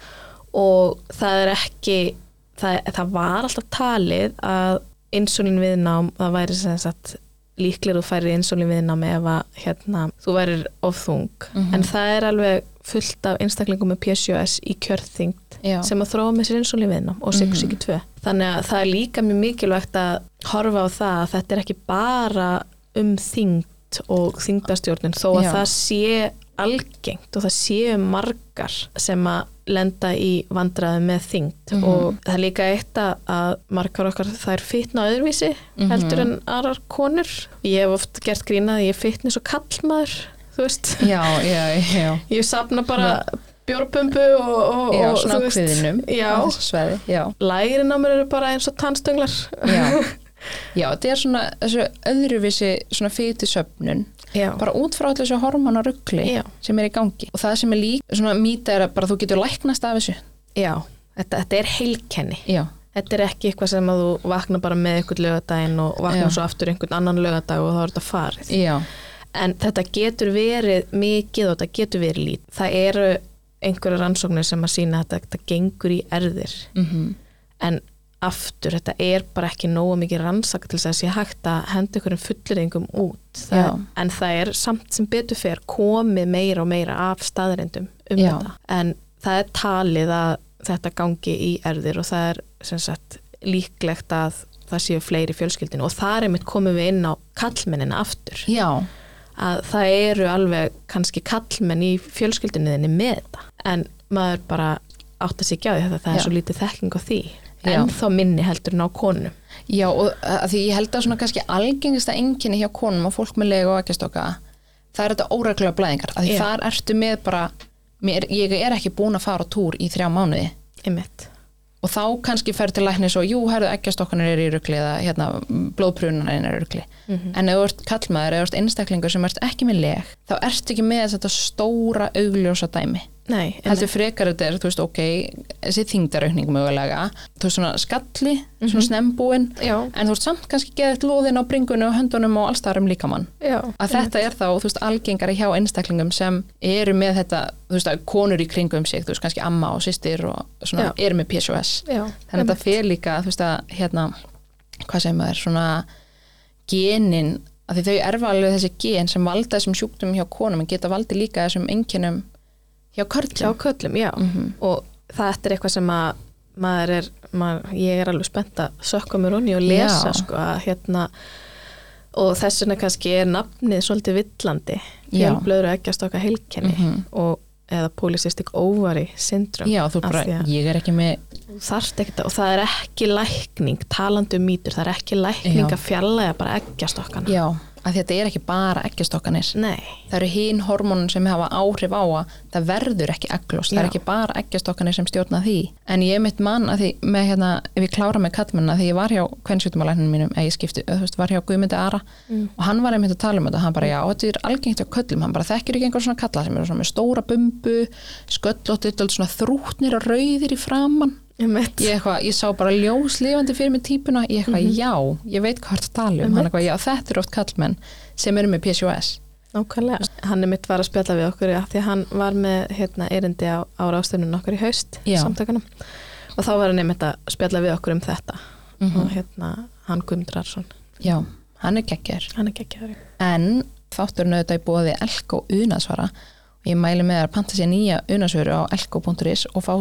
B: og það er ekki það, það var alltaf talið að insulin viðnám það væri sem sagt líklega þú færir insulín viðna með ef að hérna, þú værir of þung
A: Mhm.
B: en það er alveg fullt af einstaklingum með PCOS í kjörþyngd
A: Já. Mhm.
B: sem að þróa með sér insulín viðna og sykursíki 2 þannig að það er líka mjög mikilvægt að horfa á það að þetta er ekki bara um þyngd og þyngdastjórnun þó að
A: Já.
B: það sé algengt og það séu margar sem að lenda í vandræðum með þyngd
A: Mhm.
B: og það er líka eitt að- að margar okkar þær fitna öðruvísi
A: Mhm.
B: heldur en aðrar konur ég hef oft gert grína að ég fitni svo kallmaður þú veist,
A: já, já, já.
B: ég sapna bara bjórpumpu og, og,
A: Já,
B: og
A: svona
B: þú veist,
A: ákveðinum
B: Já.
A: á þessu svæði, já,
B: lærin á mér eru bara eins og tannstönglar
A: já. Já, þetta er svona þessu öðruvísi svona fytisöfnun
B: já,
A: bara út frá allir þessu hormonarugli
B: Já.
A: sem er í gangi og það sem er líka svona mýta er að bara þú getur læknast af þessu
B: já. Þetta, þetta er heilkenni
A: Já,
B: þetta er ekki eitthvað sem að þú vaknar bara með einhvern lögadaginn og vaknar
A: Já.
B: svo aftur einhvern annan lögadag og þá er þetta farið
A: já,
B: en þetta getur verið mikið og þetta getur verið lít það eru einhverja rannsóknir sem að sína að þetta, þetta gengur í erðir
A: mm
B: en aftur, þetta er bara ekki nógu mikið rannsaka til þess að sé hægt að henda einhverjum fullringum út það,
A: Já.
B: en það er samt sem betur fer komið meira og meira af staðrindum um
A: Já.
B: þetta, en það er talið að þetta gangi í erðir og það er sem sagt líklegt að það séu fleiri í fjölskyldinu og þar er mitt komum við inn á kallmennin aftur,
A: já,
B: að það eru alveg kannski kallmenn í fjölskyldinu þinni með þetta, en maður bara átt að sig ekki á því að það er
A: Já.
B: svo lítið þekking á því,
A: Já.
B: en þá minni heldur en á konum.
A: já og að því ég held að svona kannski algengasta enginni hjá konum og fólk með lega og ekkjastokka það er þetta óreglulega blæðingar að því
B: Já.
A: þar ertu með bara mér, ég er ekki búin að fara á túr í þrjá mánuði
B: Einmitt.
A: og þá kannski fer til læknis og jú, herðu, eggjastokkanir eru í rugli eða hérna, blóðprunanir eru í rugli
B: Mhm.
A: en ef þú ert kallmaður, ef þú ert einstaklingur sem ert ekki með leg, þá ert ekki með þetta stóra augljósa dæmi
B: Nei, einmitt.
A: heldur frekar þetta er, þú veist, ok þessi þingdaraukning mögulega þú veist, svona skalli, svona snembúin
B: Mhm. Já.
A: en þú ert samt kannski geðið lóðin á bringunni og höndunum og allstarum líkamann
B: Já.
A: að þetta er þá, þú veist, algengari hjá einstaklingum sem eru með þetta, þú veist, að konur í kringum sig, þú veist, kannski amma og sýstir og svona, eru með PSOS
B: Já.
A: þannig að þetta fer líka þú veist að hérna hvað segir maður, svona genin, af því þau erfa alveg þessi gen sem valda þessum sjúkdum hjá konum en geta valdi líka þessum enginum hjá
B: Hjá
A: körlum
B: köllum, já.
A: Mhm.
B: Og þetta er eitthvað sem að maður er, maður, ég er alveg spennt að sökka mér honni og lesa,
A: Já.
B: sko, að hérna, og þess vegna kannski er nafnið svolítið villandi,
A: Já. Mhm.
B: hjálplöður að ekki að stokka heilkenni og eða polycystic ovary syndrome.
A: já, þú
B: Af
A: bara,
B: því að
A: ég er ekki með
B: þú þarft ekkert að, og það er ekki lækning, talandi um mýtur, það er ekki lækning
A: Já.
B: að fjarlæga bara ekki að stokkana.
A: já, að þetta er ekki bara eggjastokkanir
B: Nei,
A: það eru hinn hormónum sem hafa áhrif á að það verður ekki egglós, það
B: Já.
A: er ekki bara eggjastokkanir sem stjórna því en ég er mitt mann að því með hérna, ef ég klára með kallmennina því ég var hjá kvennsjútumalækninu mínum, eða ég skipti eða, þú veist, var hjá Guðmundi Ara
B: Mm.
A: og hann var einmitt að tala um þetta, hann bara já, þetta er algengt á köllum, hann bara þekkir ekki einhver svona kalla sem eru svona með stóra bumbu sköllóttir, dálítið svona þrútnir og rauðir í framann
B: um mitt.
A: ég, eitthva, ég sá bara ljóslifandi fyrir mig típuna ég eitthvað, já, ég veit hvað það tala um hann eitthvað, já, þetta eru oft kallmenn sem eru með PCOS
B: Nákvæmlega. Hann er mitt var að spjalla við okkur af því að hann var með hérna, erindi á, á ráðstöfnun okkar í haust
A: Já.
B: samtökunum og þá var hann einmitt að spjalla við okkur um þetta og hérna hann Guðmundrarsson
A: Já, hann er geggjör.
B: hann er geggjaður
A: En þátturinn auðvitað í bóði Elko Unasvara og ég mæli með þér að panta sér nýja Unasvöru á elko.is og fá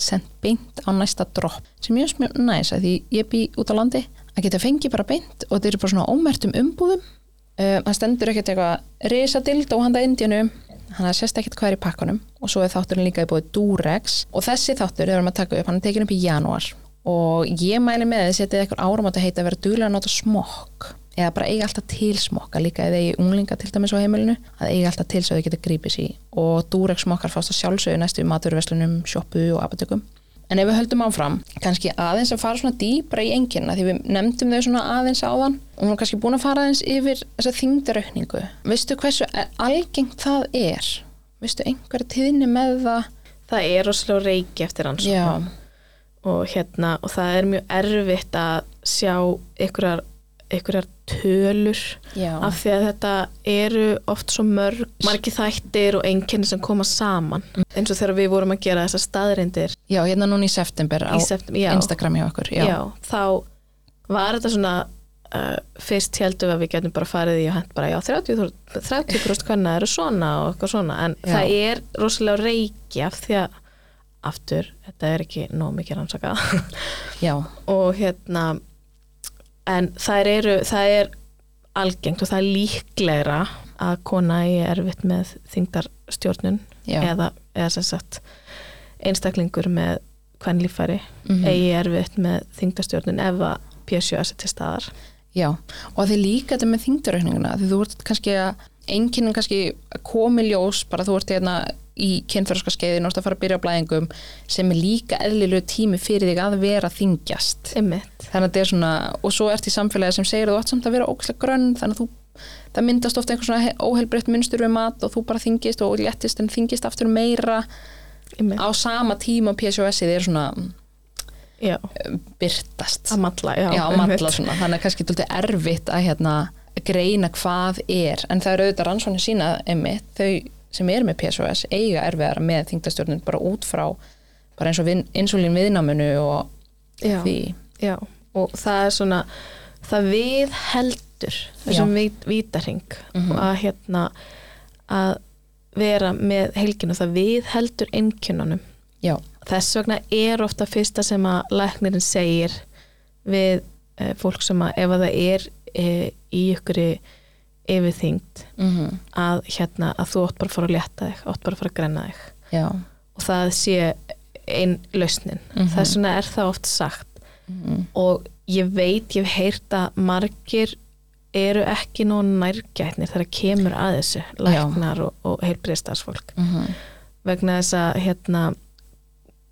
A: sendt beint á næsta dropp sem ég finnst mjög næs að því ég bý út á landi að geta fengið bara beint og þetta eru bara svona ómertum umbúðum um, hann stendur ekkert eitthvað risadild og handa indjanum hann að sérst ekkert hvað er í pakkanum og svo er þátturinn líka í bóði Durex og þessi þáttur er að taka upp, hann er tekin upp í janúar og ég mæli með þið setið eitthvað árum að heita að vera duglega að nota smokk eða bara eiga alltaf til smokka líka eða eigi unglinga til dæmis á heimilinu að eiga alltaf til svo þau geta grípið sér og Durex smokkar fást að sjálfsögðu næstu í maturverslunum, sjoppu og apatökum en ef við höldum áfram, kannski aðeins að fara svona dýbra í enginna því við nefndum þau svona aðeins áðan og hún er kannski búin að fara aðeins yfir þessa þyngdaraukningu veistu hversu algengt það er? veistu einhverja tíðinni með það?
B: það er rosalega reiki eftir hans
A: Já,
B: og hérna og það er mjög erfitt að sjá einhverjar, einhverjar tölur
A: já,
B: af því að þetta eru oft svo mörg margi þættir og einkenni sem koma saman eins og þegar við vorum að gera þessar staðrindir
A: já hérna núna í september á
B: í septem, já,
A: Instagram hjá okkur
B: já. þá var þetta svona uh, fyrst heldum við að við getum bara farið í og hent bara já 30%, 30 hvernig eru svona og eitthvað svona en
A: Já.
B: það er rosalega reiki af því að aftur, þetta er ekki nóg mikið rannsakað
A: já,
B: og hérna en það, eru, það er algengt og það er líklegra að kona er erfitt með þingdarstjórnun
A: já,
B: eða, eða sem sagt einstaklingur með kvennlíffæri
A: Mhm.
B: eigi erfitt með þingdarstjórnun ef að PSJS er til staðar
A: já og að þið líka þetta með þingdaraukninguna því þú ert kannski að enginn kannski komi ljós bara þú ert hérna í kynþörskaskeiðin og ert að fara að byrja á blæðingum sem er líka eðlilegu tími fyrir þig að vera þingjast
B: Einmitt.
A: þannig að þetta er svona og svo ert í samfélagi sem segir að þú átt samt að vera ókslega grönn þannig að þú, það myndast ofta einhver svona óheilbreytt munstur við mat og þú bara þingist og léttist en þingist aftur meira
B: Einmitt.
A: á sama tíma PCOS-ið er svona
B: Já,
A: um, birtast
B: að matla já,
A: já,
B: einmitt.
A: matla svona, þannig að kannski tóltið erfitt að hérna greina hvað er en það eru auðvitað rannsóknir sína einmitt, þau sem eru með PSOS eiga erfiðara með þingdastjórnun bara út frá bara eins og vin, insulín viðnáminu og
B: já,
A: því
B: já. og það er svona það við heldur þessum vít, vítarhing að hérna að vera með helginu það við heldur einkjönunum
A: já,
B: þess vegna er ofta fyrsta sem að læknirinn segir við e, fólk sem að ef að það er e, í ykkur yfirþyngd
A: mm
B: að hérna að þú átt bara að fara að létta þig átt bara að fara að grenna þig
A: já
B: og það sé einn lausnin
A: Mhm.
B: þess vegna er það oft sagt
A: mm
B: og ég veit, ég hef heyrt að margir eru ekki nóg nærgætnir þegar kemur að þessu læknar og, og heilbriðstarsfólk
A: -hmm.
B: vegna þess að hérna,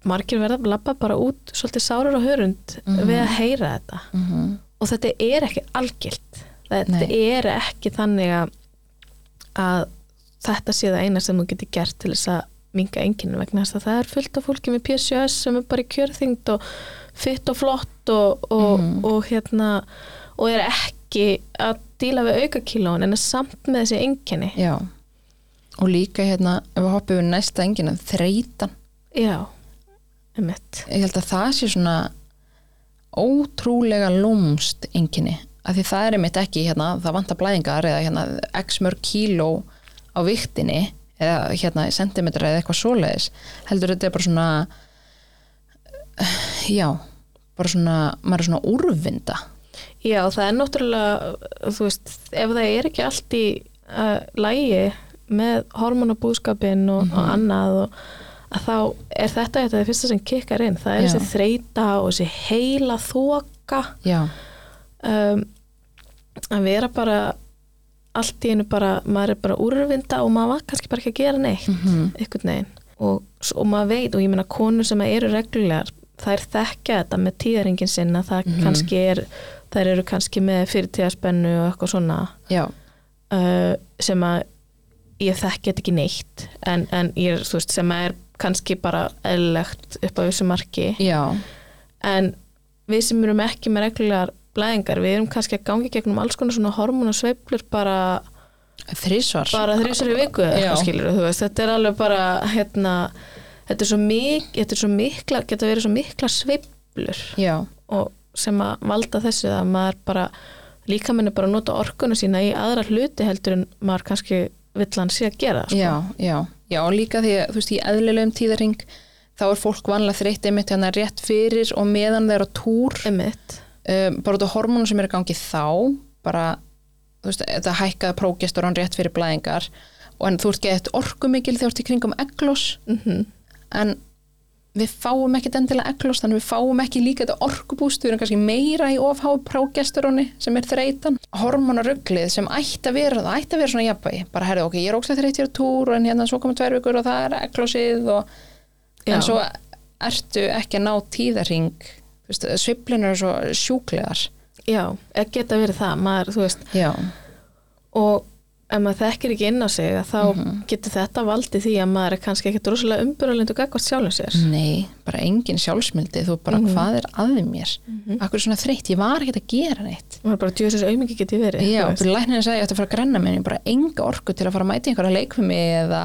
B: margir verða að labba bara út svolítið sárar og hörund
A: Mhm.
B: við að heyra þetta
A: Mm -hmm.
B: og þetta er ekki algilt þetta
A: Nei.
B: er ekki þannig að, að þetta sé það eina sem þú getur gert til þess að minga enginn vegna þess að það er fullt af fólki með PCOS sem er bara í kjörþyngd og fytt og flott og, og,
A: Mhm.
B: og hérna og er ekki að díla við aukakílón en er samt með þessi enginni
A: já og líka hérna, ef við hoppum við næsta enginn að þreytan,
B: já, emitt
A: ég held að það sé svona ótrúlega lúmst enginni, af því það er einmitt ekki hérna, það vantar blæðingar eða hérna x mörg kíló á viktinni eða hérna sentimetra eða eitthvað svoleiðis, heldur þetta er bara svona eh, já bara svona, maður er svona úrvinda
B: Já, það er náttúrulega, þú veist, ef það er ekki allt í uh, lægi með hormonabúskapin og,
A: Mhm.
B: og annað og að þá er þetta þetta er fyrsta sem kikkar inn, það er
A: Já.
B: þessi þreita og þessi heila þoka
A: já,
B: um, að vera bara allt í einu bara, maður er bara úrvinda og maður var kannski bara ekki að gera neitt
A: Mhm.
B: einhvern veginn og, s- og maður veit og ég meina konur sem eru reglulegar þær þekkja þetta með tíðaringin sinn að það kannski er þær eru kannski með fyrirtíðarspennu og eitthvað svona
A: já,
B: uh, sem að ég þekki þetta ekki neitt en, en ég er, þú veist, sem að er kannski bara eðlilegt upp á þessu marki
A: já
B: en við sem erum ekki með reglulegar blæðingar, við erum kannski að gangi gegnum alls konar svona hormonasveiflur bara
A: þrísvar
B: bara þrísar í viku eða
A: Já.
B: eitthvað skilur þú veist, þetta er alveg bara hérna, þetta er svo mik þetta er svo mikla, geta verið svo mikla sveiflur
A: já,
B: og sem að valda þessu að maður bara líka minni bara að nota orkuna sína í aðra hluti heldur en maður kannski vill hann sé að gera sko.
A: Já, já, já og líka því að þú veist í eðlilegum tíðarhing þá er fólk vanlega þreytt einmitt hérna rétt fyrir og meðan það er á túr
B: Einmitt.
A: um, bara út á hormónu sem eru gangið þá bara, þú veist, þetta hækkaða prógestoran rétt fyrir blæðingar og en þú ert gett orkumikil þegar þú ert í kringum eglós
B: Mhm.
A: en við fáum ekkit endilega eglós þannig við fáum ekki líka þetta orkubúst við erum kannski meira í ofhá prógesturunni sem er þreytan, hormonaruglið sem ætti að vera, það ætti að vera svona jafnvægi bara herðu ok, ég er ókslega þreytt hér á túr en hérna svo koma tvær vikur og það er eglósið og,
B: Já.
A: en svo ertu ekki að ná tíðarring sviplunar er svo sjúklegar
B: Já, eða geta verið það maður, þú veist,
A: já,
B: og ef maður þekkir ekki inn á sig að þá
A: Mhm.
B: getur þetta valdið því að maður er kannski ekkert rosalega umbyrðalindu gagvart sjálfum sér
A: nei, bara engin sjálfsmyldi þú bara hvað er aðið mér akkur er svona þreytt, ég var ekki að gera neitt
B: maður er bara djöðsins aumingi getið verið
A: Já,
B: þú veist.
A: byrju læknirinn sagði ég ætti að fara að grenna mér, ég bara enga orku til að fara að mæta í einhverja leikfumi eða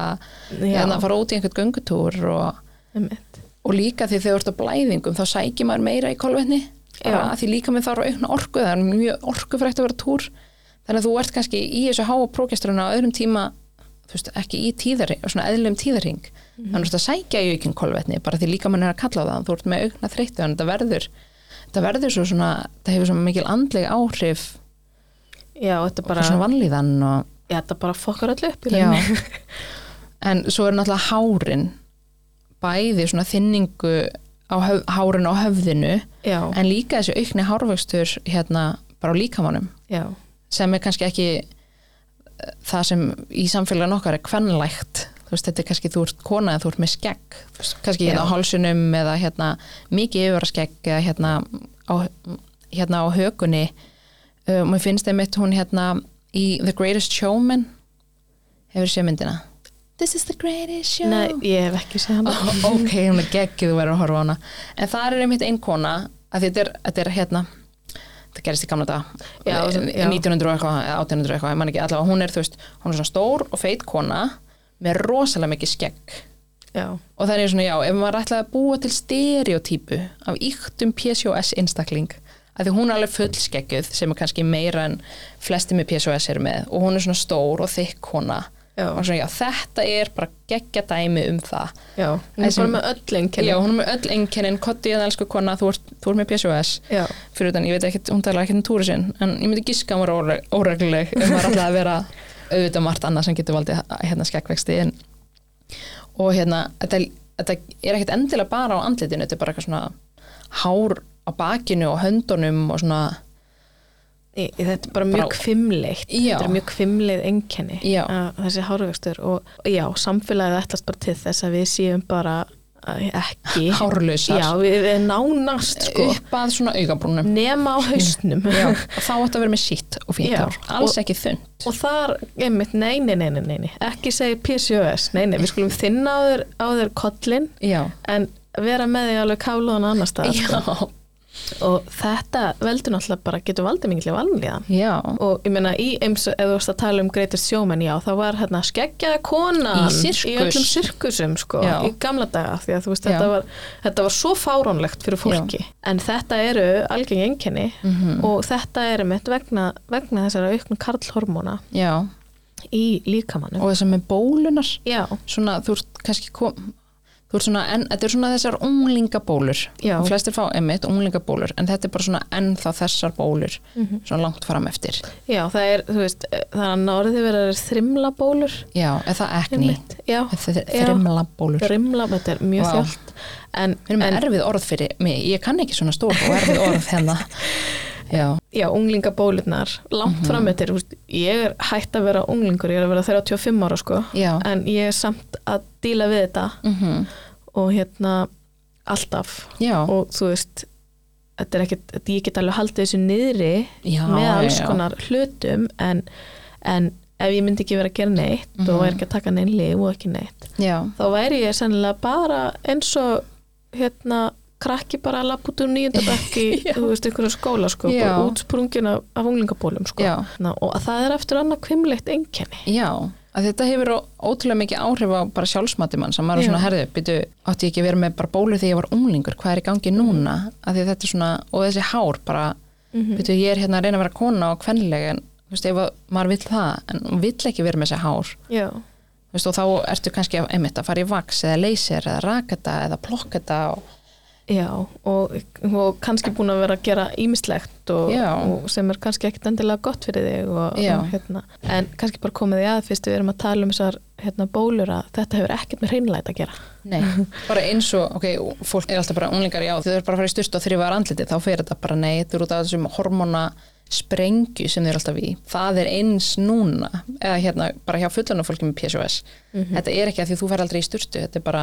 B: Já.
A: eða að fara út í einhvert göngutúr og,
B: Einmitt.
A: og líka því þegar þú ert á blæðingum þá sækir maður meira í kolvetni bara
B: Já.
A: að því líka með þarf að aukna orku það er mjög orkufrægt að vera túr þannig að þú ert kannski í þessu háa prógestruna á öðrum tíma, þú veist, ekki í tíðari svona eðlum tíðarhing
B: Mhm.
A: þannig að þú ert að sækja í aukinn kolvetni bara því líka mann er að kalla á það, þú ert með aukna þreyttu þannig að þetta verður, þetta verður svo svona það hefur svona mikil andleg áhrif
B: Já, þetta
A: bara
B: bara,
A: svona vanlíðan og,
B: já, þetta bara fokkar öll upp í
A: Já.
B: rauninni.
A: en svo er náttúrulega hárin bæði svona þinningu á höf, hárin á höfðinu
B: Já,
A: en líka þessi aukni hárvöxtur hérna bara á líkamannum
B: já,
A: sem er kannski ekki eh, það sem í samfélagin okkar er kvenlægt þú veist, þetta er kannski þú ert kona eða þú ert með skegg Þú veist, kannski hérna á
B: Já.
A: hálsunum eða hérna mikið yfirvaraskegg eða hérna á, hérna á hökunni og mér finnst einmitt hún hérna í The Greatest Showman hefur séð myndina This is Oh. the greatest show
B: Nei, ég hef ekki séð hana.
A: Ó, ok, hún er geggið þú verður að horfa á hana en það er einmitt ein kona að þetta er, þetta er hérna það gerist í gamla dag
B: Já,
A: Eh,
B: sem- já.
A: 1900 og eitthvað, eða 1800 og eitthvað ég man ekki, allavega hún er þú veist, hún er svona stór og feit kona með rosalega mikið skegg
B: Já,
A: og það er svona já, ef maður ætlaði að búa til stereotypu af yktum PCOS einstakling að því hún er alveg fullskeggjuð sem er kannski meira en flesti með PCOS eru með og hún er svona stór og þykk kona
B: Já.
A: og svona já, þetta er bara geggja dæmi um það
B: já. Hún er
A: Þessi-
B: bara með öll einkenni.
A: Já, hún er með öll einkennin, kotti en elsku kona, þú ert, þú ert með PSOS
B: Já.
A: fyrir utan, ég veit ekki, hún talar ekki um túri sinn en ég myndi giska að hún er óregluleg ef maður alltaf að vera auðvitað margt annað sem getur valdið hérna skekkvexti en, og hérna, þetta, þetta er ekkit endilega bara á andlitinu, þetta er bara eitthvað svona hár á bakinu og höndunum og svona,
B: Í- í- Þetta er bara mjög
A: Bara-
B: kvimleitt
A: Já.
B: þetta er mjög kvimleið einkenni
A: Já.
B: að þessi hárvöxtur og og já, samfélagið ætlast bara til þess að við séum bara að- ekki
A: Hárlausar.
B: Já, við erum nánast sko
A: upp að svona augabrúnum
B: nema á hausnum
A: Já, og þá ætti að vera með sítt og fínt
B: Já,
A: hár, alls
B: og-
A: ekki þund
B: og þar, einmitt, nei, nei, nei, nei, nei, nei ekki segja PCOS, nei, nei, við skulum þinna á þér, á þér kollin
A: Já,
B: en vera með því alveg kálóðan annars staðar sko.
A: já,
B: og þetta veldur náttúrulega bara getur valdið mingilega vanlíðan
A: já.
B: og ég meina í eins ef þú varst að tala um Greatest Showman já þá var hérna skeggjaða konan
A: Í sirkus.
B: öllum sirkusum sko
A: Já.
B: í gamla daga því að þú veist
A: Já.
B: þetta var, þetta var svo fáránlegt fyrir fólki en þetta eru algengi einkenni
A: Mhm.
B: og þetta eru mitt vegna, vegna þessara auknum karlhormóna
A: Já,
B: í líkamannum
A: og þess að með bólunar
B: já,
A: svona, þú ert kannski kom þú ert svona, en þetta er svona þessar unglingabólur
B: Já.
A: Og flestir fá emitt unglingabólur en þetta er bara svona ennþá þessar bólur
B: Mhm.
A: svona langt fram eftir
B: já það er þú veist það er að náriði verið þrimla bólur
A: já, er það ekni,
B: já, Já.
A: þrimla bólur
B: þrimla, þetta er mjög
A: Vá.
B: þjált en,
A: við erum með
B: en
A: erfið orð fyrir mig, ég kann ekki svona stór og erfið orð hérna já,
B: já, unglingabólurnar langt mm
A: Mhm.
B: -hmm. fram eftir, þú veist, ég er hætt að vera unglingur, ég er að vera 35 ára sko
A: já
B: en ég er samt að díla við þetta
A: mm
B: og hérna alltaf
A: já,
B: og þú veist þetta er ekkit, þetta- ég get alveg haldið þessu niðri
A: já,
B: með alls
A: já, já.
B: konar hlutum en, en ef ég myndi ekki vera að gera neitt
A: Mhm.
B: og væri ekki að taka neinn lif og ekki neitt
A: já,
B: þá væri ég sennilega bara eins og hérna krakki bara að lappa út úr nýjunda bekki þú veist, einhverju skóla sko
A: Já.
B: bara útsprungin af, af unglingabólum sko
A: Já.
B: Ná, og að það er eftir annað kvimleitt einkenni
A: já að þetta hefur ó- ótrúlega mikið áhrif á bara sjálfsmati mann sem maður er svona herðu, byrju, átti ég ekki að vera með bara bólur þegar ég var unglingur, hvað er í gangi núna að því að þetta er svona, og þessi hár bara, mm
B: Mhm.
A: ég er hérna að reyna að vera kona og kvenlega, en þú veist, ef að maður vill það, en hún vill ekki vera með þessi hár
B: Já.
A: þú veist, og þá ertu kannski að- einmitt að fara í vaks eða leysir eða rakata eða plokkata og
B: Já, og, og kannski búin að vera að gera ímislegt og,
A: Já.
B: og sem er kannski ekkit endilega gott fyrir þig og,
A: Já.
B: og, hérna. en kannski bara komið því að fyrst við erum að tala um þessar hérna, bólur að þetta hefur ekkert með hreinlæt að gera
A: Nei, bara eins og, ok, fólk er alltaf bara unglingar, já, þau eru bara að fara í styrst og þrýfaðar andliti, þá fer þetta bara, nei, þau eru út af þessum hormona sprengju sem þau eru alltaf í. Það er eins núna, eða hérna, bara hjá fullanum fólki með PSOS. Þetta er ekki að því þú fer aldrei í styrtu, þetta er bara,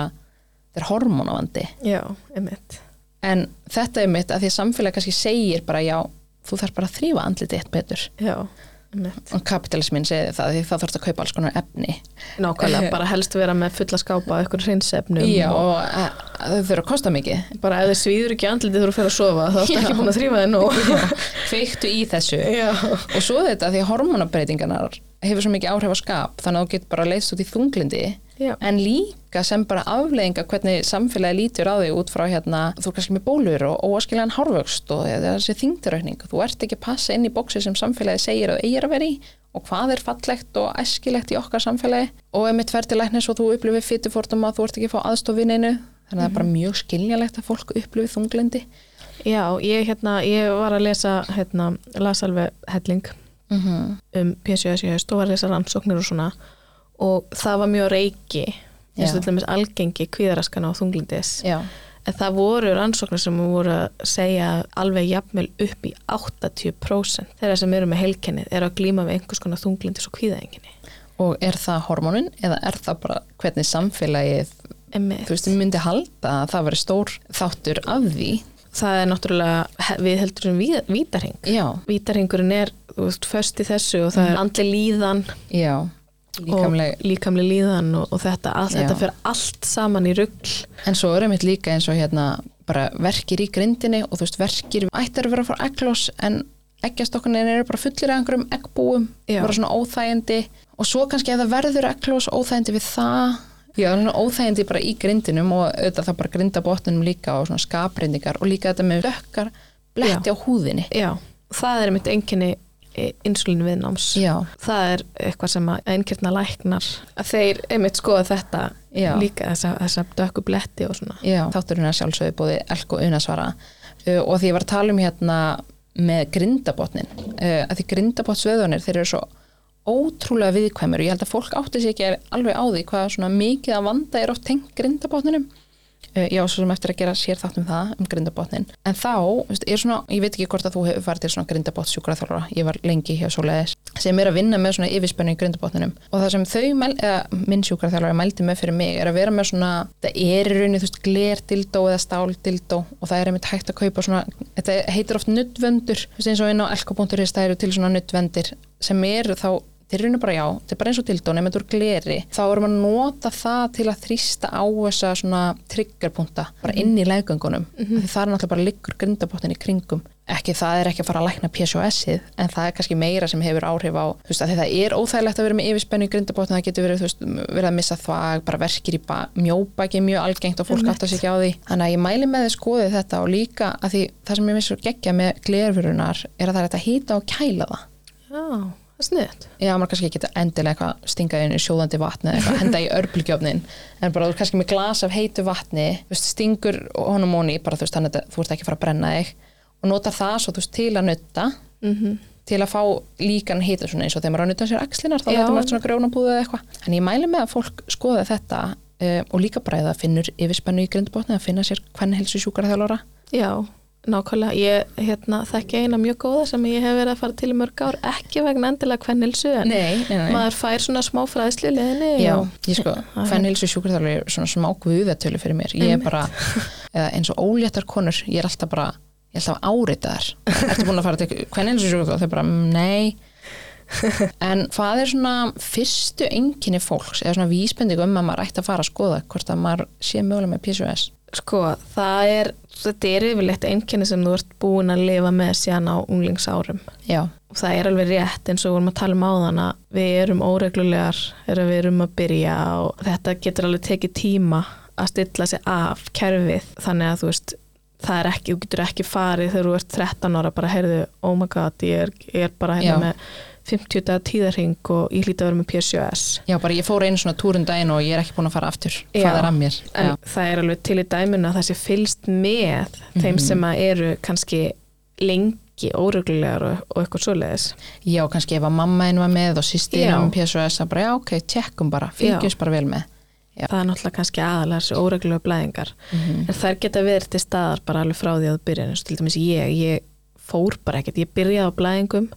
A: þetta er hormonavandi.
B: Já, einmitt
A: En þetta er mitt að því að samfélag kannski segir bara, já, þú þarf bara að þrýfa andliti eitt betur.
B: Já, einmitt
A: Og kapitalismin segir það, því það þarf að kaupa alls konar efni.
B: Nákvæmlega, bara helst vera með fulla skápa og eitthvað hreinsefnum
A: Já,
B: og
A: og að- að þau þurfa að kosta mikið.
B: bara ef þið svíður ekki andlitið þú eru að fara að sofa þá ertu ekki búin að þrýfa þið nú
A: Kveiktu í þessu.
B: Já,
A: og svo þetta því að hormonabreitingarnar hefur svo mikið áhrif á skap þannig að þú getur bara leiðst út í þunglindi
B: Já.
A: en líka sem bara afleðinga hvernig samfélagi lítur á þig út frá hérna, þú er kannski með bólur og óaskiljan hárvöxt og það er þessi þingdiraukning þú ert ekki að passa inn í bóksi sem samfélagi segir að eigir að vera í og hvað er fallegt og æskilegt í okkar samfélagi og ef mitt verði læknis og þú upplifir fytufórtum að þú ert ekki að fá aðstofininu þannig að það er bara mjög skiljanlegt að fólk upplifir þunglindi
B: Já, ég, hérna, ég var að lesa hérna, las alveg helling
A: mm
B: um PCOS í haust og var að lesa rannsóknir og svona og það var mjög reiki eins
A: Já.
B: og til dæmis algengi kvíðaraskana og þunglindis
A: Já,
B: en það voru rannsóknir sem voru að segja að alveg jafnvel upp í 80% þeirra sem eru með heilkennið eru að glíma við einhvers konar þunglindis og kvíðaenginni
A: og er það hormónin eða er það bara hvernig samfélagið
B: Einmitt.
A: þú veist, ég myndi halda að það veri stór þáttur af því.
B: það er náttúrulega he- við heldur um vítarhing
A: Já,
B: vítarhingurinn er þú veist, först í þessu og það er andli líðan
A: já, líkamleg.
B: og líkamli líðan og, og þetta, allt,
A: Já.
B: þetta fyrir allt saman í rugl
A: En svo er einmitt líka eins og hérna bara verkir í grindinni og þú veist, verkir ættir að vera frá egglós en eggjastokkunin eru bara fullir af einhverjum eggbúum,
B: Já.
A: bara svona óþægindi og svo kannski ef það verður egglós óþægindi við það, já, svona óþægindi bara í grindinum og auðvitað það bara grinda botnunum líka og svona skaprindingar og líka þetta með dökkar bletti á húðinni.
B: já, það er mitt enginni insulín viðnáms
A: Já,
B: það er eitthvað sem að einkjörna læknar að þeir einmitt skoða þetta
A: Já.
B: líka þessa, þessa dökku bletti og svona
A: Já. þátturinn er sjálfsögðu bóði elk og unasvara uh, og því ég var að tala um hérna með grindabotnin uh, að því grindabotnsveðunir þeir eru svo ótrúlega viðkvæmur og ég held að fólk átti sér ekki alveg á því hvað svona mikið að vanda er oft tengt grindabotninum uh, já, svo sem eftir að gera sér þátt um það um grindabotnin, en þá veist, er svona, ég veit ekki hvort að þú hefur farið til svona grindabotn sjúkraþjálfara, ég var lengi hjá svoleiðis sem er að vinna með svona yfirspennu í grindabotninum og það sem þau, mæl, eða minn sjúkraþjálfara mældi með fyrir mig er að vera með svona það er í rauninni, þú veist, glerdildó eða stáldildó og það er einmitt hægt að kaupa svona, þetta heitir oft nuddvendur þú veist, eins og inn á elko.is það eru til svona nuddvendir sem eru þá þeir eru bara já, þetta er bara eins og dildón ef þetta er gleri, þá erum að nota það til að þrýsta á þessa svona triggerpunta, bara inn í leggöngunum mm -hmm. það er náttúrulega bara liggur grindabottin í kringum ekki það er ekki að fara að lækna PCOS-ið en það er kannski meira sem hefur áhrif á þú veist að það er óþægilegt að vera með yfirspennu í grindabottin, það getur verið, þú veist, verið að missa þvag, bara verkir í ba- mjóbaki er mjög algengt og fólk átt að sig ekki á því þannig að ég mæli með þið skoðið þetta og líka að því það sem ég minnst svo geggja með glerfurunar er að það er hægt að hýta og kæla það
B: já, það er sniðt
A: Já, maður kannski geta endilega eitthvað stingað inn í sjóðandi vatni eða eitthvað, henda í örbulgjöfnin en bara þú er kannski með glas af heitu vatni þú veist, stingur honum honi bara þú veist, þannig að þú ert ekki að fara að brenna þig og nota það svo þú veist til að nutta
B: Mhm.
A: -hmm. til að fá líkan hita svona eins og þegar maður er að nutta sér axlinar þá
B: Já.
A: þetta maður svona grjónabúðu eða eitthvað en ég mæli með að fólk skoða þetta um, og líka bara eða finnur yfirspennu í grindbótni að finna sér hvern helsu sjúkarþjálfara
B: já, nákvæmlega ég hérna, þekki eina mjög góða sem ég hef verið að fara til í mörg ár, ekki vegna endilega kvennilsu en
A: Nei, nei, nei.
B: maður fær svona smá fræðslu í leðinni
A: Já,
B: og-
A: ég sko,
B: Já,
A: fennhilsu sjúkurþjálfur er svona smá guðatölu fyrir mér ég er bara, eða eins og óléttar konur ég er alltaf bara, ég er alltaf áritaðar ertu búin að fara til fennhilsu sjúkurþjálfur þau bara, "Mm, nei en hvað er svona fyrstu enginni fólks, eða svona vísbending um að maður ætti að fara að skoða hvort að maður sé mögulega með PCOS
B: Sko, það er, þetta er yfirleitt einkenni sem þú ert búin að lifa með síðan á unglingsárum.
A: Já,
B: Og það er alveg rétt eins og við vorum að tala um áðan að við erum óreglulegar, erum við erum að byrja og þetta getur alveg tekið tíma að stilla sig af kerfið. Þannig að þú veist, það er ekki, þú getur ekki farið þegar þú ert 13 ára bara, heyrðu, oh my god, ég er, ég er bara hérna
A: Já.
B: með 50 dagar tíðarhing og ég hlýta að vera með PCOS.
A: já bara ég fór einu svona túrin daginn og ég er ekki búin að fara aftur
B: Já.
A: hvað er að mér
B: en
A: já.
B: það er alveg til í dæminu að það sé fylst með þeim
A: Mhm.
B: sem að eru kannski lengi óreglulegar og, og eitthvað svoleiðis
A: já, kannski ef að mamma einu var með og sýstir
B: Já.
A: um PCOS að bara, já, ok, tjekkum bara fylgjumst bara vel með Já.
B: það er náttúrulega kannski aðalega þessi óreglulega blæðingar en þær geta verið til staðar bara alveg frá því að þú byrja eins og til dæmis ég, ég fór bara ekkert, ég byrjaði á blæðingum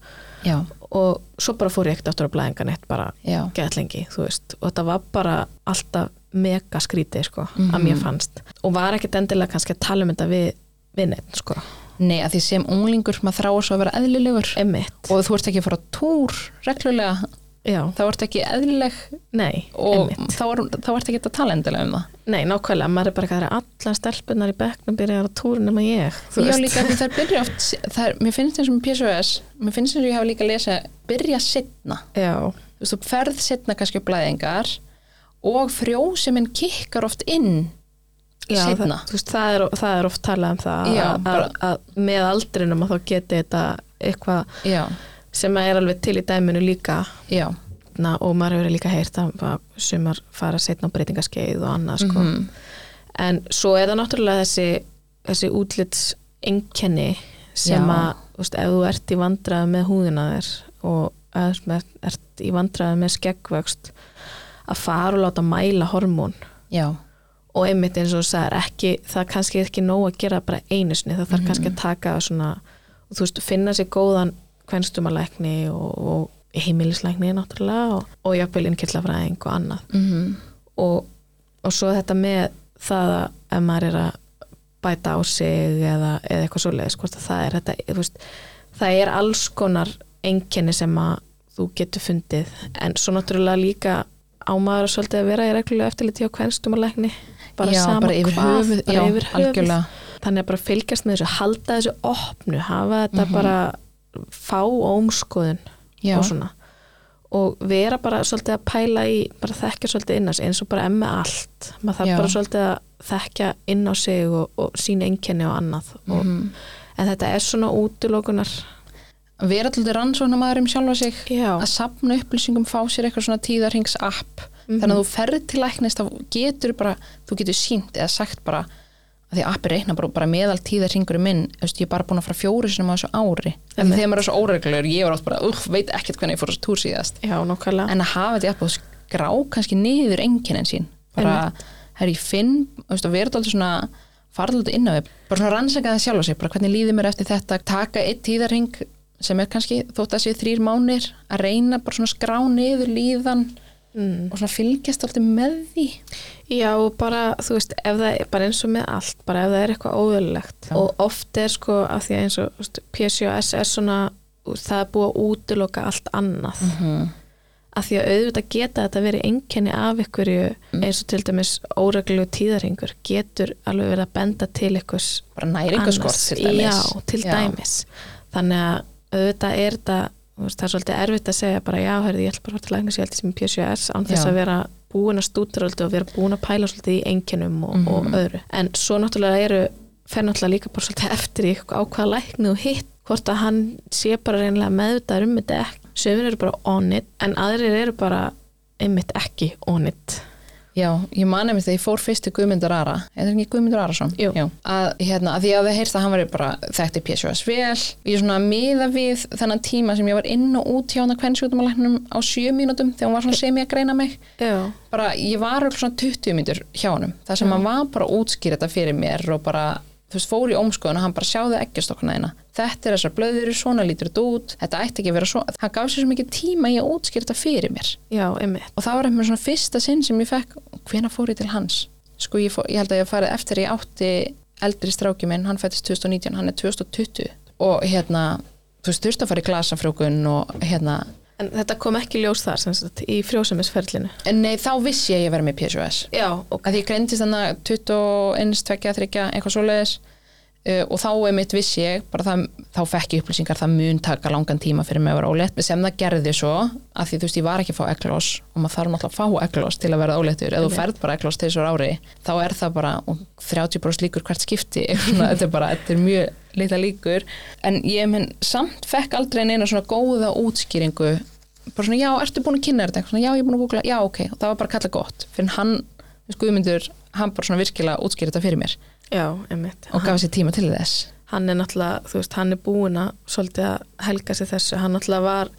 A: Já,
B: og svo bara fór ég ekkert aftur á blæðingan eitt bara
A: já.
B: gett lengi, þú veist og þetta var bara alltaf mega skrítið sko, að
A: Mhm.
B: mér fannst og var ekkert endilega kannski að tala um þetta við, við neitt sko,
A: Nei, að því sem unglingur maður þráir svo að vera eðlilegur
B: emitt
A: og þú ert ekki að fara á túr reglulega,
B: Já,
A: þá ert ekki eðlileg
B: nei,
A: og
B: einmitt.
A: þá, er, þá ert ekki að tala endilega um það.
B: Nei, nákvæmlega, maður er bara ekki að það er allar stelpunar í bekknum byrjar að túra nema ég
A: Já,
B: þú veist.
A: líka því þær byrja oft, þær, mér finnst eins og með PSOS, mér finnst eins og ég hafa líka að lesa byrja setna.
B: Já,
A: Þú veist, þú ferð setna kannski á blæðingar og frjóseminn kikkar oft inn
B: Já,
A: seinna.
B: það, þú veist, það, er, það er oft talað um það
A: Já,
B: að-
A: bara-
B: að, að með aldrinum að þá geti þetta eitthvað
A: Já,
B: sem er alveg til í dæminu líka
A: já,
B: na, og maður hefur líka heyrt að að sumar fara setna á breytingaskeið og annað sko.
A: Mhm.
B: en svo er það náttúrulega þessi, þessi útlits einkenni sem
A: Já.
B: að þú veist, ef þú ert í vandraði með húðina þér og ef þú ert- ert í vandraði með skeggvöxt að fara og láta mæla hormón
A: já,
B: og einmitt eins og þú sagðir ekki, það er kannski ekki nóg að gera það bara einu sinni, það þarf kannski að taka það svona, og þú veist, finna sér góðan kvenstumalækni og, og heimilislækni náttúrulega og, og jafnvel innkirlafræðing og annað
A: mm
B: og, og svo þetta með það að ef maður er að bæta á sig eða, eða eitthvað svoleiðis hvort að það er þetta, þú veist, það er alls konar einkenni sem að þú getur fundið en svo náttúrulega líka ámaður svolítið að vera í reglulega eftirliti á kvenstumalækni bara
A: já,
B: sama
A: bara yfir
B: hvað,
A: höfuð,
B: bara
A: já,
B: yfir höfuð
A: algjörlega,
B: þannig að bara fylgjast með þessu halda þessu opnu, hafa þetta bara fá ómskoðun
A: Mhm. Já.
B: og svona og vera bara svolítið að pæla í bara þekkja svolítið inn á sig eins og bara emmi allt maður þarf
A: Já.
B: bara svolítið að þekkja inn á sig og, og sína einkenni og annað og,
A: Mhm.
B: en þetta er svona útilokunar
A: vera alltaf rannsóknamaður um sjálfa sig
B: Já.
A: að sapna upplýsingum, fá sér eitthvað svona tíðarhings app,
B: Mhm.
A: þannig að þú ferð til læknist þá getur bara, þú getur sínt eða sagt bara, að því appi reikna bara, bara meðal tíðarhingur minn þú veist, ég er bara búin að fara fjóru sinum á þessu ári en
B: Einmitt.
A: þegar maður er svo óreglulegur, ég var átt bara uh, veit ekkert hvernig ég fór þessu túr síðast
B: já, nokkala
A: en að hafa þetta jafnvel skrá kannski niður enginin sín bara, herri, ég finn, þú veist, að vera alltaf svona farðlut inn á þau, bara svona rannsaka það sjálf á sig, bara hvernig líður mér eftir þetta taka eitt tíðarhing sem er kannski þótt að séu þrýr mánir, að reyna bara svona skrá niður líðan
B: mm.
A: og svona fylgjast alltaf með því
B: Já, og bara, þú veist, ef það er bara eins og með allt, bara ef það er eitthvað óðurlegt
A: Já.
B: og oft er sko, af því að eins og þú veist, PCOS er svona, þú veist, það er búið að útiloka allt annað
A: -hmm.
B: af því að auðvitað geta þetta verið einkenni af ykkur eins og til dæmis óreglu tíðarhingur getur alveg verið að benda til ykkurs
A: bara næringaskort
B: annars.
A: til dæmis
B: Já, til dæmis þannig að auðvitað er þetta þú veist, það er svolítið erfitt að segja bara já, herrði, ég ætla bara að fara til læknis, ég held ég sem í PCOS án þess
A: Já.
B: að vera búin að stúturöldu og vera búin að pæla svolítið í einkennum og,
A: Mhm.
B: og öðru en svo náttúrulega eru fer náttúrulega líka bara svolítið eftir í á hvaða lækni þú hitt hvort að hann sé bara reynilega meðvitað um þetta ekki sömur eru bara on it en aðrir eru bara einmitt ekki on it
A: Já, ég mani mér þegar ég fór fyrst til Guðmundar Ara eða ekki Guðmundur Arason
B: Jú.
A: Að, hérna, að því að það heyrst að hann var bara þekkti PSOS vel ég svona miða við þennan tíma sem ég var inn og út hjá hann að kvennsjótumalæknum á sjö mínútum þegar hún var svona sem ég að greina mig
B: Já,
A: bara ég var öll svona 20 mínútur hjá honum það sem hann var bara að útskýra þetta fyrir mér og bara þú veist, fór í ómskoðun og hann bara sjáði ekkjastokkuna þeina þetta er þessar blöður, svona lítur þetta út þetta ætti ekki að vera svona, hann gaf sér svo mikið tíma í að útskýra þetta fyrir mér
B: já, einmitt
A: og það var einhvern svona fyrsta sinn sem ég fekk hvena fór ég til hans sko ég, fó, ég held að ég farið eftir ég átti eldri stráki minn, hann fættist 2019 hann er 2020 og hérna þú veist þurft að fara í glasafrjókun og hérna,
B: En þetta kom ekki ljós þar sem sagt í frjósemisferlinu
A: en nei þá vissi ég að ég verið með PSOS
B: Já, ok
A: að því ég greindist þannig 21, 22, 3 eitthvað svoleiðis uh, og þá einmitt vissi ég bara það, þá fekk ég upplýsingar það mun taka langan tíma fyrir mig að vera ólétt sem það gerði svo að því þú veist ég var ekki að fá eglós og maður þarf náttúrulega að fá eglós til að verða óléttur ef þú ferð bara eglós til þessu ári þá er það bara og 30 bros líkur hvert skipti eitthvað svona, þetta er bara, þetta er mjög litla líkur en ég menn samt fekk aldrei neina svona góða útskýringu bara svona já, ertu búin að kynna þér þetta Eitthvað svona, já, ég er búin að googla, já, ok, og það var bara kalla gott fyrir hann, þú veist, Guðmundur hann bara svona virkilega útskýrði þetta fyrir mér
B: Já, einmitt
A: og gaf sér tíma til þess
B: Hann er náttúrulega, þú veist, hann er búin að svolítið að helga sér þessu Hann náttúrulega var,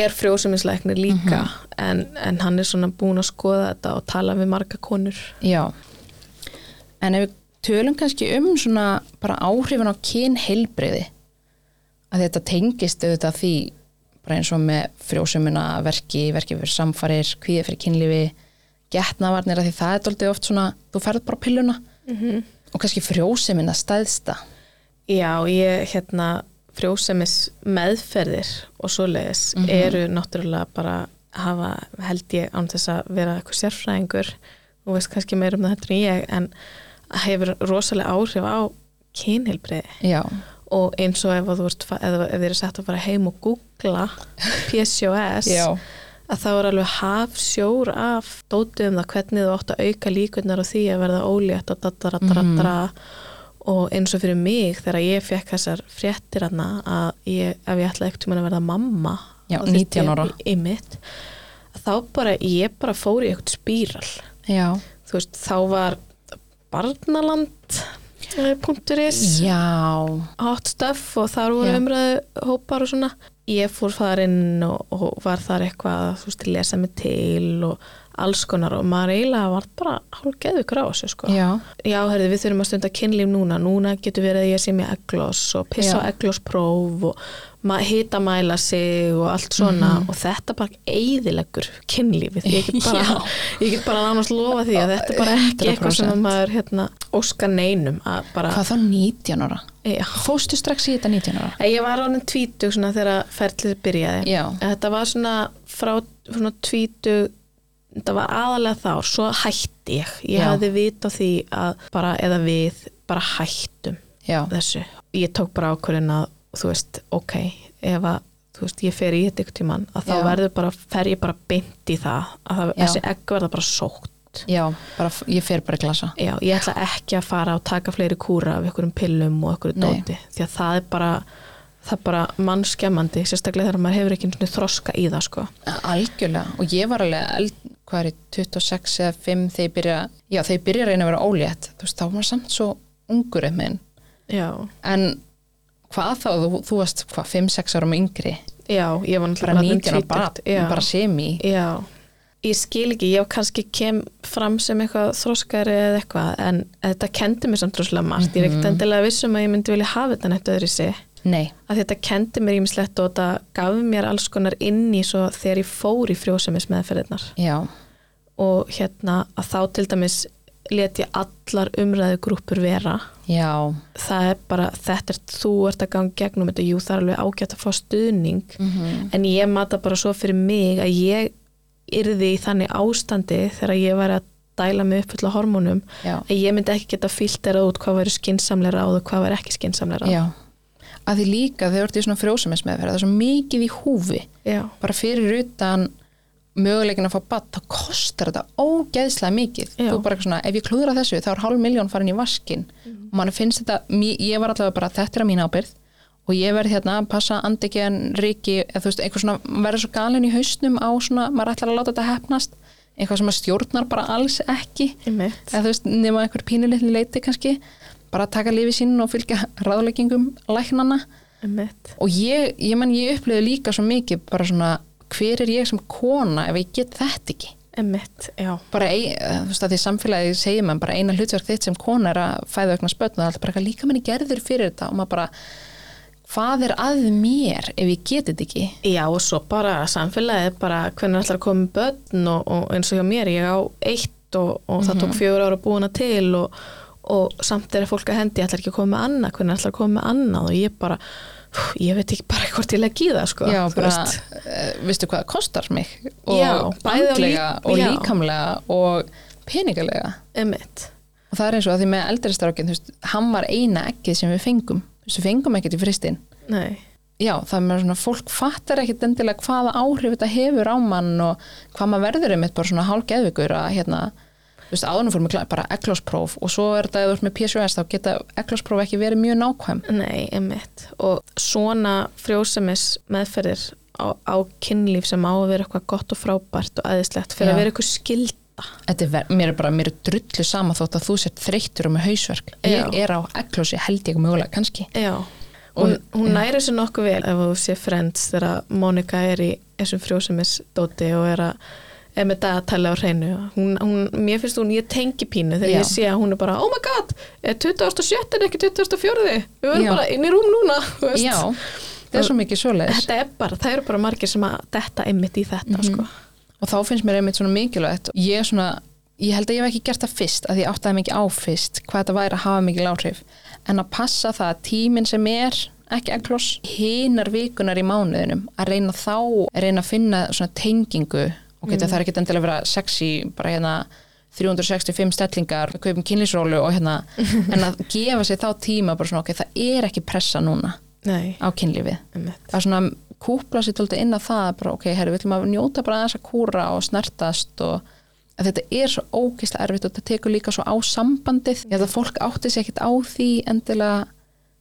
B: er frjósemisleiknir líka en, en hann er svona búin að skoða þetta og tala við marga konur
A: já en ef við tölum kannski um svona bara áhrifin á kynheilbriði að þetta tengist auðvitað því bara eins og með frjósumuna verki, verki fyrir samfarir kvíði fyrir kynlífi, getnavarnir að því það er dálítið oft svona, þú ferð bara á pilluna -hmm. og kannski frjósumina stæðsta
B: Já, ég hérna frjósemis meðferðir og svoleiðis eru náttúrulega bara hafa, held ég án þess að vera eitthvað sérfræðingur og veist kannski meir um það heldur en ég en hefur rosalega áhrif á kynheilbreiði
A: já,
B: og eins og ef, að þú ert, fa- ef, ef þið eru sett að fara heim og googla PCOS
A: Já.
B: að þá er alveg haf sjór af dótið um það hvernig þú átt að auka líkunar á því að verða ólétt og dataradaratra og eins og fyrir mig þegar ég fekk þessar fréttir hana að ég, ef ég ætlaði ekkert um að verða mamma
A: Já,
B: þá þyrfti
A: 19 ára.
B: ég í mitt þá bara, ég bara fór í eitthvað spíral
A: já,
B: þú veist, þá var eh, barnaland.is
A: já
B: hot stuff og þar voru
A: Já.
B: umræðu hópar og svona ég fór farinn og, og var þar eitthvað að, þú veist, lesa mig til og alls konar og maður eiginlega var bara hálfgeðvikur á þessu sko
A: já,
B: Já, herði, við þurfum að stunda kynlíf núna núna getur verið að ég sé mér eggloss og pissa
A: Já.
B: á egglosspróf og ma- hitamæla sig og allt svona
A: Mhm.
B: og þetta bara eigðilegur kynlífið, ég get
A: Já.
B: bara ég get bara nánast lofa því að þetta er bara ekki eitthvað sem
A: 100%.
B: að maður hérna, óska neinum að bara,
A: hvað þá 19 ára
B: já
A: fóstu strax í þetta 19 ára
B: Ég var ánum tvítug svona þegar ferlið byrjaði.
A: Já.
B: En Þetta var svona frá svona tvítug, þetta var aðalega þá, svo hætti ég. Ég
A: Já.
B: hafði vit á því að bara, eða við, bara hættum
A: já,
B: þessu. Ég tók bara ákvörðin að, þú veist, ok, ef að, þú veist, ég fer í þetta ykkur tíman, að þá
A: Já.
B: verður bara, fer ég bara beint í það, að það,
A: Já.
B: þessi egg verða bara sótt.
A: já, bara, f- ég fer bara í glasa
B: Já, ég ætla ekki að fara og taka fleiri kúra af einhverjum pillum og einhverju
A: Nei.
B: dóti því að það er bara, það er bara mannskemmandi, sérstaklega þegar maður hefur ekki einu sinni þroska í það sko.
A: Algjörlega og ég var alveg eld, hvað er ég, 26 eða 5 þegar ég byrja, já þegar ég byrja að reyna að vera ólétt þú veist þá var maður samt svo ungur um minn
B: Já.
A: en hvað þá þú, þú varst hvað 5-6 árum yngri
B: Já, ég var náttúrulega
A: bara 19 og
B: tvítugt.
A: bara,
B: Já.
A: bara semi
B: Já, ég skil ekki, ég kannski kem fram sem eitthvað þroskari eða eitthvað en þetta kendi mér samt rosalega margt, ég er ekkert
A: Mhm.
B: endilega vissum að ég myndi vilja hafa þetta nættu öðru sig.
A: nei,
B: að þetta kendi mér ímislegt og þetta gaf mér alls konar inn í svo þegar ég fór í frjósemis
A: já,
B: og hérna að þá til dæmis let ég allar umræðugrúpur vera
A: já
B: það er bara, þetta er þú ert að ganga gegnum þetta, jú það er alveg ágætt að fá stuðning en ég mata bara svo fyrir mig að ég yrði í þannig ástandi þegar ég væri að dæla mig upp fulla hormónum
A: Já.
B: að ég myndi ekki geta filterað út hvað væri skinsamlega ráð og hvað væri ekki skinsamlega ráð
A: já að því líka þegar þú ert í svona frjósumismeðferð það er svo mikið í húfi
B: Já.
A: bara fyrir utan möguleikin að fá batt, þá kostar þetta ógeðslega mikið.
B: Já.
A: Þú bara eitthvað svona, ef ég klúðra þessu, þá er hálf miljón farin í vaskin
B: Mhm.
A: og mann finnst þetta, mí- ég var allavega bara þetta er að mín ábyrð og ég verð hérna að passa andekjan, riki, eða þú veist, einhver svona verður svo galin í hausnum á svona, maður ætlar að láta þetta hefnast, eitthvað sem að stjórnar bara alls ekki
B: Einmitt.
A: eða þú veist, nema einhver pínulitli leiti kannski, bara taka lifi sín og fylgja ráðleggingum læknana
B: Einmitt.
A: og ég, ég menn ég upplifði líka svo mikið bara svona hver er ég sem kona ef ég get þetta ekki
B: Einmitt, já
A: bara, ein, þú veist að því samfélagi segir mann bara eina hlutverk þitt sem kona er að fæða aukna spötn og allt bara eitthvað líka manni gerður fyrir þetta og maður bara hvað er að mér ef ég get þetta ekki
B: Já og svo bara samfélagið bara hvernig ætlar að koma með börn og, og eins og hjá mér, ég á eitt og, og það
A: Mhm.
B: tók fjögur ára búin að til og, og samt er fólk að hendi ætlar ekki að koma með annað, hvernig ætlar að koma með annað og ég bara, hú, ég veit ekki bara hvort ég legg í það sko
A: já,
B: þú
A: bara,
B: veist.
A: eh, veistu hvað það kostar mig og
B: Já, bæði á
A: andlega
B: lí-
A: og
B: já.
A: líkamlega og peningalega
B: Einmitt.
A: og það er eins og að því með eldri strákin þú veist, hann var eina ekkið sem við fengum þú veist, við fengum ekkert í fristinn
B: Nei,
A: já, það er með svona, fólk fattar ekkit endilega hvaða áhrif þetta hefur á mann og hvað maður verður einmitt bara svona hálfgeðvikur að hérna, þú veist, áðunum fór mig bara eglospróf og svo er þetta, ef þú ert með PSOS þá geta eglospróf ekki verið mjög nákvæm
B: nei, einmitt og svona frjósemis meðferðir á, á kynlíf sem á að vera eitthvað gott og frábært og aðeinslegt fyrir
A: Já.
B: að vera eitthvað skilda
A: þetta er, ver- mér er bara, mér er drullu sama þótt að þú sért þreyttur og með hausverk ég
B: Já.
A: er á eglosi held ég mögulega kannski
B: Já, hún, hún næri sér nokkuð vel ef þú sé Friends þegar Monika er í þessum frjósemisdóti og er að er með dagatæli á hreinu hún, hún, mér finnst hún, ég tengi pínu þegar
A: Já.
B: ég sé að hún er bara, oh my god er 2007 en ekki 2004 við erum
A: Já.
B: bara inn í rúm núna þú veist.
A: já, það er svo mikið svoleiðis
B: þetta er bara, það eru bara margir sem að detta einmitt í þetta sko.
A: og þá finnst mér einmitt svona mikilvægt ég er svona, ég held að ég hef ekki gert það fyrst að ég áttaði mikið á fyrst hvað þetta væri að hafa mikil áhrif en að passa það að tíminn sem er ekki ekklos, hinar vikunar í mánuðinum að reyna þá, reyna að finna svona tengingu og geta það er ekki endilega að vera sexy bara hérna 365 stellingar, kaupum kynlýsrólu og hérna, en að gefa sér þá tíma bara svona ok, það er ekki pressa núna
B: Nei,
A: á kynlífið.
B: einmitt.
A: Það er svona kúpla sér tóldi inn á það bara ok, herri, við ætlum að njóta bara þess að kúra og snertast og að þetta er svo ógeðslega erfitt og þetta tekur líka svo á sambandið. Ég held að fólk átti sér ekkit á því endilega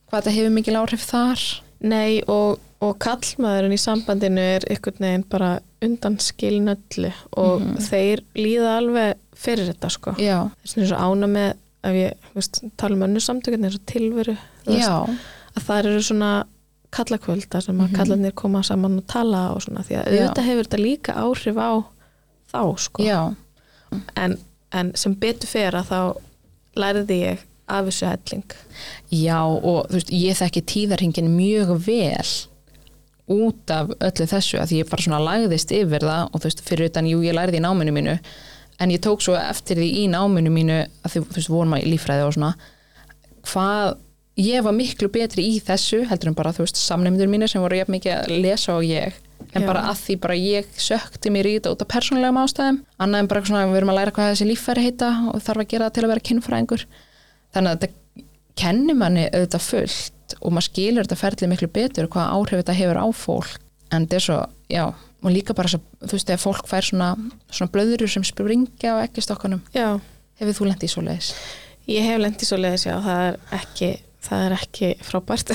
A: hvað þetta hefur mikil áhrif þar.
B: Nei og, og kallmaðurinn í sambandinu er einhvern veginn bara undanskilin öllu og þeir líða alveg fyrir þetta sko.
A: Mhm. Já,
B: Þess vegna er svo ána með ef ég þú veist, tala um önnu samtökun eins og tilveru þú veist,
A: já,
B: að það eru svona kallakvölda sem að kallarnir koma saman og tala og svona því að
A: Mhm. Já.
B: auðvitað hefur þetta líka áhrif á þá sko.
A: já,
B: en, en sem betur fer að þá læriði ég af þessu helling.
A: já og þú veist, ég þekki tíðarhingin mjög vel út af öllu þessu að ég bara svona lagðist yfir það og þú veist, fyrir utan, jú, ég lærði í náminu mínu en ég tók svo eftir því í náminu mínu að því, þú veist, vorum að líffræði og svona hvað, ég var miklu betri í þessu heldur en bara, þú veist, samnefndur mínir sem voru jafn mikið að lesa og ég en
B: Já.
A: bara að því bara ég sökti mér í þetta út af persónulegum ástæðum, annað en bara svona við erum að læra hvað þessi líffæri heita og þarf að gera það til að vera kynfræðingur þannig að þetta kennir manni auðvitað fullt og maður skilur þetta ferli miklu betur hvaða áhrif þetta hefur á fólk en þetta er svo, já, og líka bara svo, þú veist, þegar fólk fær svona, svona blöðurur sem springja á ekki stokkanum
B: Já.
A: hefur þú lent í svo leiðis?
B: Ég hef lendið svo leiðis, já, það er ekki, það er ekki frábært.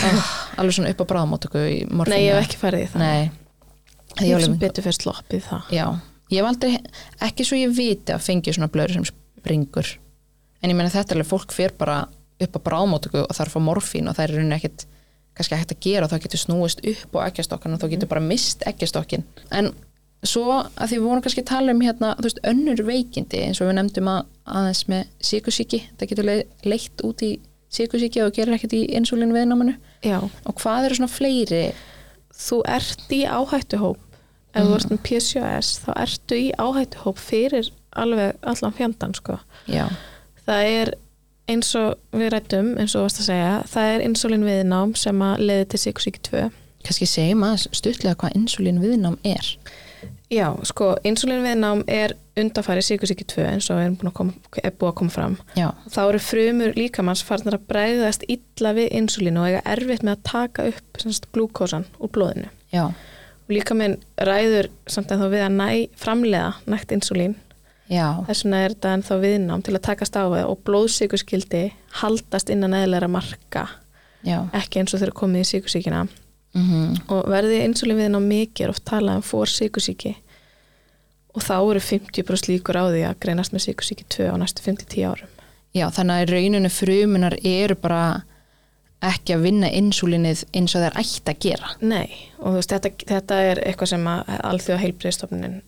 A: alveg svona upp á bráðamótöku í morfinu
B: Nei, ég hef ekki farið í það.
A: Nei,
B: ég
A: ég
B: hef sem
A: alveg
B: betur fyrir sloppið það.
A: Já, ég hef aldrei, ekki svo ég viti að fengi svona blöður sem springur en ég meina þetta er alveg fólk fyrir bara upp á bráðmótöku og þarf að fá morfín og það er í rauninni ekkit kannski ekkert að gera og það getur snúist upp á ekkjastokkan og þá getur bara mist ekkjastokkin en svo að því við vorum kannski að tala um hérna, þú veist, önnur veikindi eins og við nefndum að, aðeins með síkusíki, það getur le- leitt út í síkusíki og gerir ekkert í insulin viðnámanu
B: Já.
A: og hvað eru svona fleiri
B: Þú ert í áhættuhóp. Ef þú
A: Mhm.
B: ert með PCOS, þá ertu í áhættuhóp fyrir alveg allan fjandan, sko.
A: já,
B: Það er eins og við rættum, eins og þú varst að segja, það er insulin viðnám sem að leiði til 6.2.
A: kannski segjum að stuttlega hvað insulin viðnám er
B: Já, sko, insulin viðnám er undarfæri 6.2 eins og er búin að koma, er búið að koma fram.
A: já,
B: þá eru frumur líkamanns farnar að bræðast illa við insulínu og eiga erfitt með að taka upp semst, glúkósan úr blóðinu.
A: já,
B: Og líkaminn ræður samt en þá við að næ, framlega nægt insulín.
A: já
B: Þess vegna er þetta ennþá viðnám til að takast á við og blóðsíkurskildi haldast innan eðlera marka,
A: já,
B: ekki eins og þeir eru komið í síkursíkina.
A: mhm
B: Og verði insulín viðnám mikið er oft talað um fór síkursíki og þá eru 50% líkur á því að greinast með síkursíki 2 á næstu 5-10 árum.
A: já, þannig að í rauninu frumunar eru bara ekki að vinna insulinið eins og þær ætti að gera
B: Nei, og þú veist, þetta, þetta er eitthvað sem að alþjóða heilbriðstofnunin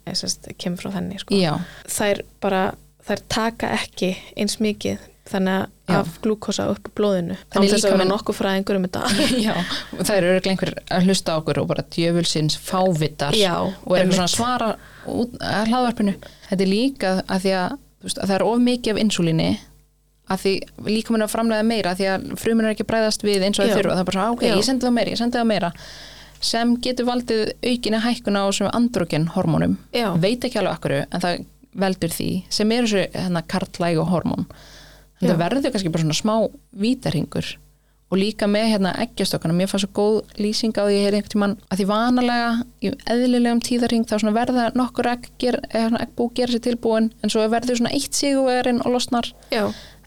B: kemur frá þenni, sko.
A: já,
B: Þær bara, þær taka ekki eins mikið, þannig að
A: Já.
B: af glúkosa upp úr blóðinu.
A: Þannig
B: Þannig þess að vera
A: líkaminn-
B: nokkuð fræðingur um þetta.
A: já það eru örugglega einhver að hlusta á okkur og bara djöfulsins fávitar
B: Já,
A: og er eitthvað svona
B: einmitt.
A: að svara út, að hlaðvarpinu þetta er líka að því að, þú veist, að það er of mikið af insulini að því líka mun að framlega meira af því að frumin er ekki að bræðast við eins og
B: Já.
A: það þurfa það er bara svona, ok,
B: Já.
A: ég sendi það meira, ég sendi það meira sem getur valdið aukinni hækkuna á sem androgen hormónum
B: Já.
A: veit ekki alveg akkur en það veldur því sem er þessu hérna, kartlægu hormón en
B: Já.
A: það verður kannski bara svona smá vítaringur og líka með hérna ekkjastokkana, mér fannst svo góð lýsing á því ég heyrði einhvern tímann að því vanalega í eðlilegum tíðarhing þá svona verða nokkur egg, ger, eða svona eggbú gera sér tilbúin en svo verður svona eitt sigurvegarinn og losnar
B: Já,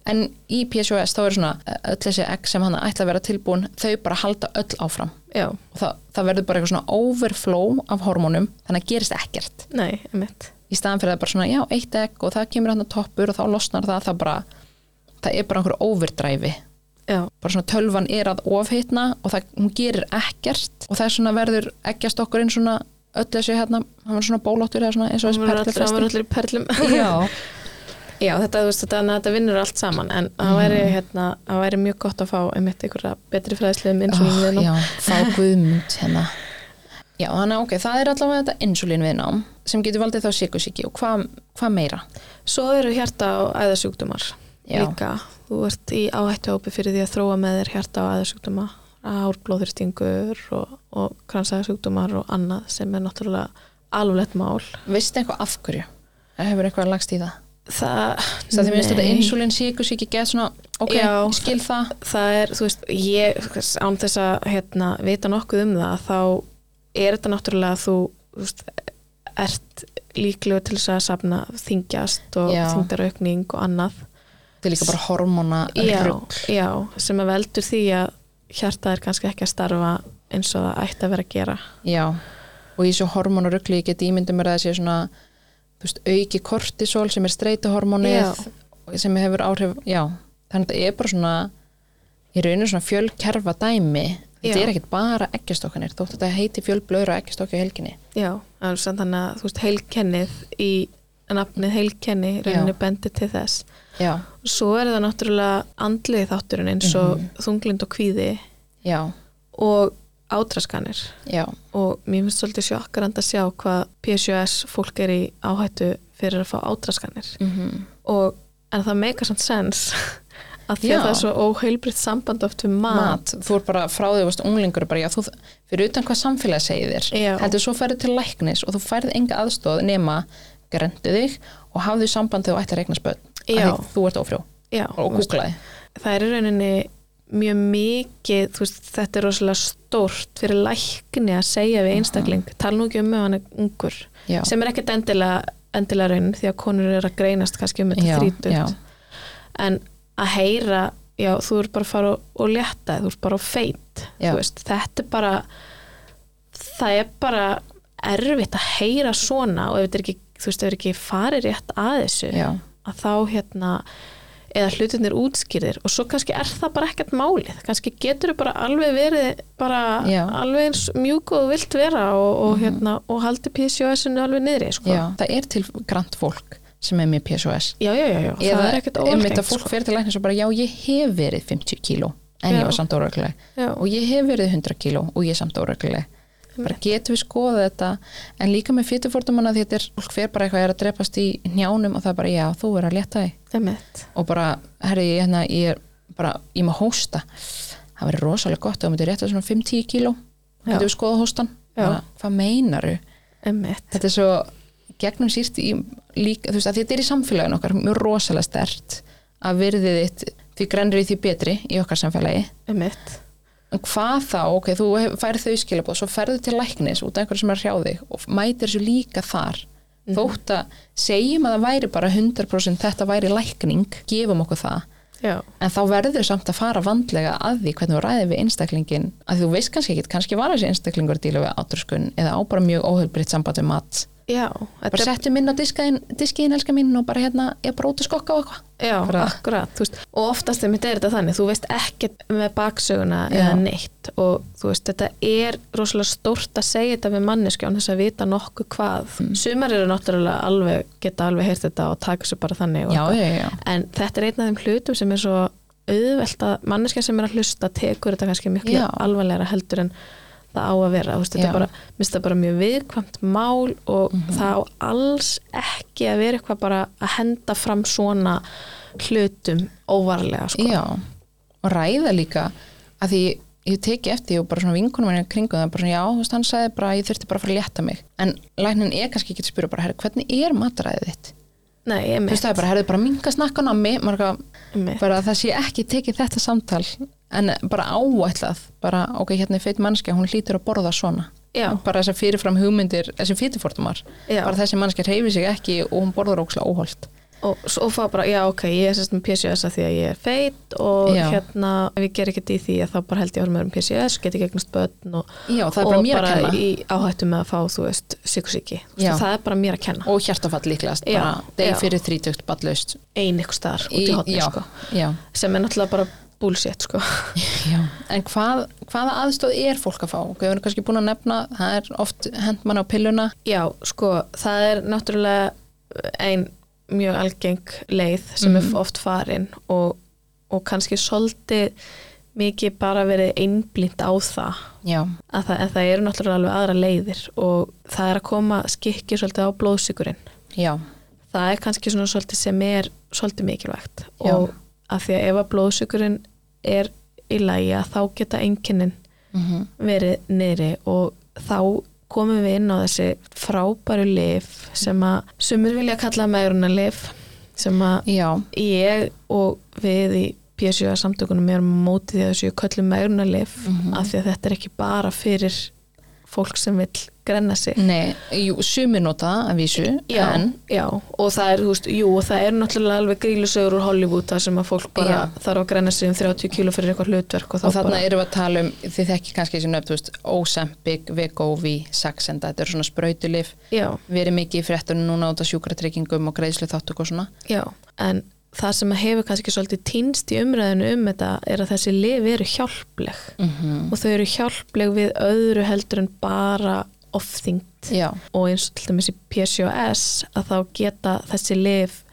A: en í PCOS þá er svona öll þessi egg sem hann ætla að vera tilbúin þau bara halda öll áfram
B: já,
A: og það, það verður bara eitthvað svona overflow af hormónum þannig að gerist ekkert
B: nei, emitt.
A: í staðan fyrir að bara svona, já, eitt egg og það kemur hann að toppur og þá losnar það það, bara, það er bara einhver overdræfi
B: Já,
A: bara svona tölvan er að ofhittna og það, hún gerir ekkert og það er svona verður eggjastokkurinn svona öll þessu hérna, hann var svona bólóttur eða svona eins og
B: það
A: þessi
B: voru allir, það voru
A: perlifresti
B: allir í perlum.
A: já,
B: Já, þetta, þú veist, þetta, þannig að þetta vinnur allt saman, en það væri, hérna, það væri mjög gott að fá einmitt einhverja betri fræðislega um insulín
A: oh,
B: viðnám.
A: já, þá guðmund hérna já, þannig að ok, það er allavega þetta insulin viðnám sem getur valdið þá sykusíki og hvað hva meira
B: Svo eru hjarta og æðasjúkdumar
A: Já.
B: líka. Þú ert í áhættuhópi fyrir því að þróa með þér hjarta og æðasjúkduma, árblóðurstingur og, og kransæðasjúkdumar og annað sem er náttúrulega alveg lett mál.
A: veistu eitthvað af hverju? hefur eitthvað lagst í það?
B: það,
A: Þess að þið minnst þetta
B: Nei.
A: insulin síku síki get svona, ok,
B: Já.
A: skil það
B: það er, þú veist, ég án þess að hérna, vita nokkuð um það þá er þetta náttúrulega að þú, þú veist, ert líklegur til þess að safna þingjast og
A: Já.
B: þingdaraukning og annað
A: Þetta er líka bara hormona
B: já,
A: rugl.
B: já, sem að veldur því að hjartað er kannski ekki að starfa eins og það ætti að vera að gera
A: Já, og í þessu hormonarugli ég get ímyndum mér að það sé svona þú veist, auki kortisol sem er streytuhormonið
B: Já.
A: sem hefur áhrif, já þannig að þetta er bara svona í rauninu svona fjölkerfa dæmi
B: Já.
A: þetta er ekkit bara eggjastokkanir þótt þetta heiti fjölblöður og eggjastokki á helginni
B: Já, það er samt þannig að þú veist heilkennið í nafnið heilkenni reynir
A: Já.
B: bendi til þess.
A: Já,
B: Svo er það náttúrulega andliði þátturinn eins og
A: Mhm.
B: þunglind og kvíði
A: já,
B: og átraskanir
A: já
B: og mér finnst svolítið sjokkarand að sjá hvað PCOS fólk er í áhættu fyrir að fá átraskanir
A: mm -hmm.
B: og en það meikar samt sens að því að
A: Já.
B: það er svo óheilbritt samband oft við mat,
A: mat, þú er bara frá því þú varst unglingur bara, já, þú, fyrir utan hvað samfélagi segir þér
B: Já.
A: heldur svo færið til læknis og þú færið enga aðstóð nema grendu þig og hafðu samband þegar þú ættir að regna spöld
B: Já.
A: þú ert ófrjó
B: Já,
A: og googlaði
B: það er í rauninni mjög mikið, þú veist, þetta er rosalega stórt fyrir lækni að segja við einstakling, tala nú ekki um ef hann er ungur,
A: Mhm. Já.
B: sem er ekkert endilega endilega raunin því að konur eru að greinast kannski um þetta
A: Já, já.
B: þrítugt en að heyra, já, þú ert bara að fara og- og létta, þú ert bara og feit
A: Já.
B: þú veist, þetta er bara það er bara erfitt að heyra svona og ef þetta er ekki, þú veist, ef þetta er ekki farið rétt að þessu
A: Já.
B: að þá hérna eða hlutinir útskýrðir og svo kannski er það bara ekkert málið, kannski getur þau bara alveg verið bara
A: Já. Mhm.
B: alveg eins mjúk og þú vilt vera og, og, hérna, og haldi PCOS-inu alveg niðri sko.
A: já. það er til grant fólk sem er með PSOS
B: já, já, já, já. það er ekkert
A: einmitt
B: óalgengt
A: að fólk
B: sko.
A: fyrir til læknis og bara, já, ég hef verið 50 kíló en
B: Já.
A: ég var samt óregluleg
B: Já.
A: og ég hef verið 100 kíló og ég er samt óregluleg bara getum við skoðað þetta en líka með fytufórtumana því þetta er fólk fer bara eitthvað er að drepast í njánum og það er bara, já, þú er að leta þig
B: Einmitt.
A: og bara, herri, ég, hérna, ég er bara, ég má hósta það verður rosalega gott, ef þú myndir rétta svona 5-10 kíló
B: Já.
A: getum við skoðað hóstan
B: Já.
A: Bara, hvað meinaru?
B: Einmitt.
A: þetta er svo gegnum sýrt í líka, þú veist að þetta er í samfélaginu okkar mjög rosalega stert að virðið þitt því grennri því betri í okkar samfélagi
B: Einmitt.
A: en hvað þá, ok, þú hef- færð þau skilabóð svo ferðu til læknis út af einhverju sem er að hrjá þig og mætir þessu líka þar
B: Mhm.
A: þótt að segjum að það væri bara 100% þetta væri lækning gefum okkur það
B: já,
A: en þá verður samt að fara vandlega að því hvernig þú ræðir við einstaklingin að þú veist kannski ekkit, kannski var þessi einstaklingur að díla við átröskun eða á bara mjög óhjálpritt samband við mat
B: já,
A: bara
B: þetta er
A: settum inn á diskaðin, diskiðin elska mín og bara hérna, ég bara út að skokka og eitthvað
B: Já,
A: bara-
B: akkurat, þú veist, og oftast einmitt er þetta þannig, þú veist ekkert með baksöguna eða
A: Já.
B: neitt og þú veist, þetta er rosalega stórt að segja þetta við manneski án þess að vita nokkuð hvað.
A: Mm.
B: Sumar eru náttúrulega alveg, geta alveg heyrt þetta og taka þessu bara þannig og
A: já, já, já,
B: en þetta er einn af þeim hlutum sem er svo auðvelt að manneskja sem er að hlusta tekur þetta kannski miklu
A: Já.
B: alvarlegra heldur en það á að vera þú veist, þetta
A: Já.
B: er
A: Mhm.
B: bara, minnst það bara mjög viðkvæmt mál og það á alls ekki að vera eitthvað bara að henda fram svona hlutum óvarlega sko.
A: já og ræða líka að því ég teki eftir því og bara svona vinkunum minni kringum það bara svona, já, þú veist, hann sagði bara að ég þurfti bara að fara að létta mig en læknin er kannski ekki að spyrja bara, herri, hvernig er mataræðið þitt?
B: Nei,
A: Þú
B: einmitt,
A: veist, það er bara, herri, bara minga snakkan á mig marga,
B: einmitt.
A: bara að það sé ekki tekið þetta samtal en bara áætlað bara, ok, hérna er feitt mannskja, hún hlýtur að borða svona
B: Já.
A: bara þessar fyrirfram hugmyndir þessi fyrirfórtumar,
B: Já.
A: bara þessi mannskja reyfi sig ekki og hún borður ókslega óholt
B: og svo fá bara, já ok, ég er sérst með PCOS að því að ég er feit og
A: Já.
B: hérna ef ég ger ekkert í því að þá bara held ég að vera með um PCOS, get ekki eignast börn og,
A: Já, það er bara
B: og
A: mér að
B: bara
A: kenna.
B: í áhættu með að fá, þú veist, sykusíki
A: Já.
B: það er bara mér að kenna,
A: og hjartafall líklegast,
B: Já,
A: bara deg
B: já.
A: fyrir þrítökt ballaust
B: ein ykkur staðar út í
A: Í-
B: hotni,
A: já,
B: sko,
A: já,
B: sem er náttúrulega bara bullshit, sko
A: já. en hvað, hvaða aðstóð er fólk að fá? Við höfum kannski búin að nefna, það er oft hend mann á pilluna
B: Já, sko, það er náttúrulega ein mjög algeng leið sem
A: Mhm.
B: er oft farin og, og kannski svolítið mikið bara verið einblínt á það
A: já,
B: að það, en það eru náttúrulega alveg aðra leiðir og það er að koma skikki svolítið á blóðsíkurinn.
A: já,
B: Það er kannski svona svolítið sem er svolítið mikilvægt
A: Já.
B: og að því að ef að blóðsíkurinn er í lagi að þá geta einkennin
A: mhm,
B: verið niðri og þá komum við inn á þessi frábæru lif sem að sumur vilja kalla megrunarlif sem að
A: Já,
B: ég og við í PSU samtökunum erum á móti því að þessu köllum megrunarlif mm
A: Mhm.
B: af því að þetta er ekki bara fyrir fólk sem vill grenna sig
A: nei, jú, sumir nota það að vísu,
B: Já,
A: Mm. en
B: já, og það er, þú veist, jú, og það er náttúrulega alveg grílusögur úr Hollywood þar sem að fólk bara
A: Já.
B: þarf að græna sig um 30 kíló fyrir eitthvað hlutverk og þá
A: og þarna
B: bara,
A: erum við að tala um, þið þekki kannski þessi nöfn, þú veist, Ozempic, Vegovi, Saxenda, þetta eru svona sprautulif,
B: já,
A: verið mikið í fréttunum núna út af sjúkratryggingum og greiðslu þáttuk og svona.
B: já, en það sem að hefur kannski svolítið týnst í umræðinu um þetta er að þessi lif eru hjálpleg
A: -hmm.
B: og þau eru hjálpleg við öðru heldur en bara ofþyngt
A: Já,
B: og eins og til dæmis í PCOS að þá geta þessi lif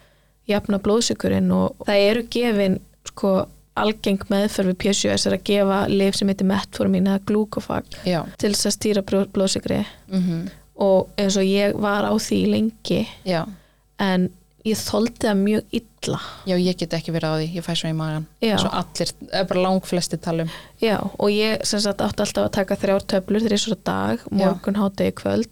B: jafna blóðsökurinn og það eru gefin sko algeng meðferð við PCOS er að gefa lif sem heitir metformin eða glúkofag
A: já,
B: til þess að stýra blóðsökri
A: mm
B: og eins og ég var á því lengi
A: já,
B: en ég þoldi það mjög illa
A: já, ég get ekki verið á því, ég fæ svo í magan.
B: Já.
A: Svo allir, það er bara um. langflesti talum.
B: Já, og ég sem sagt átti alltaf að taka þrjár töflur þrjá svo dag, morgun, hádegi, kvöld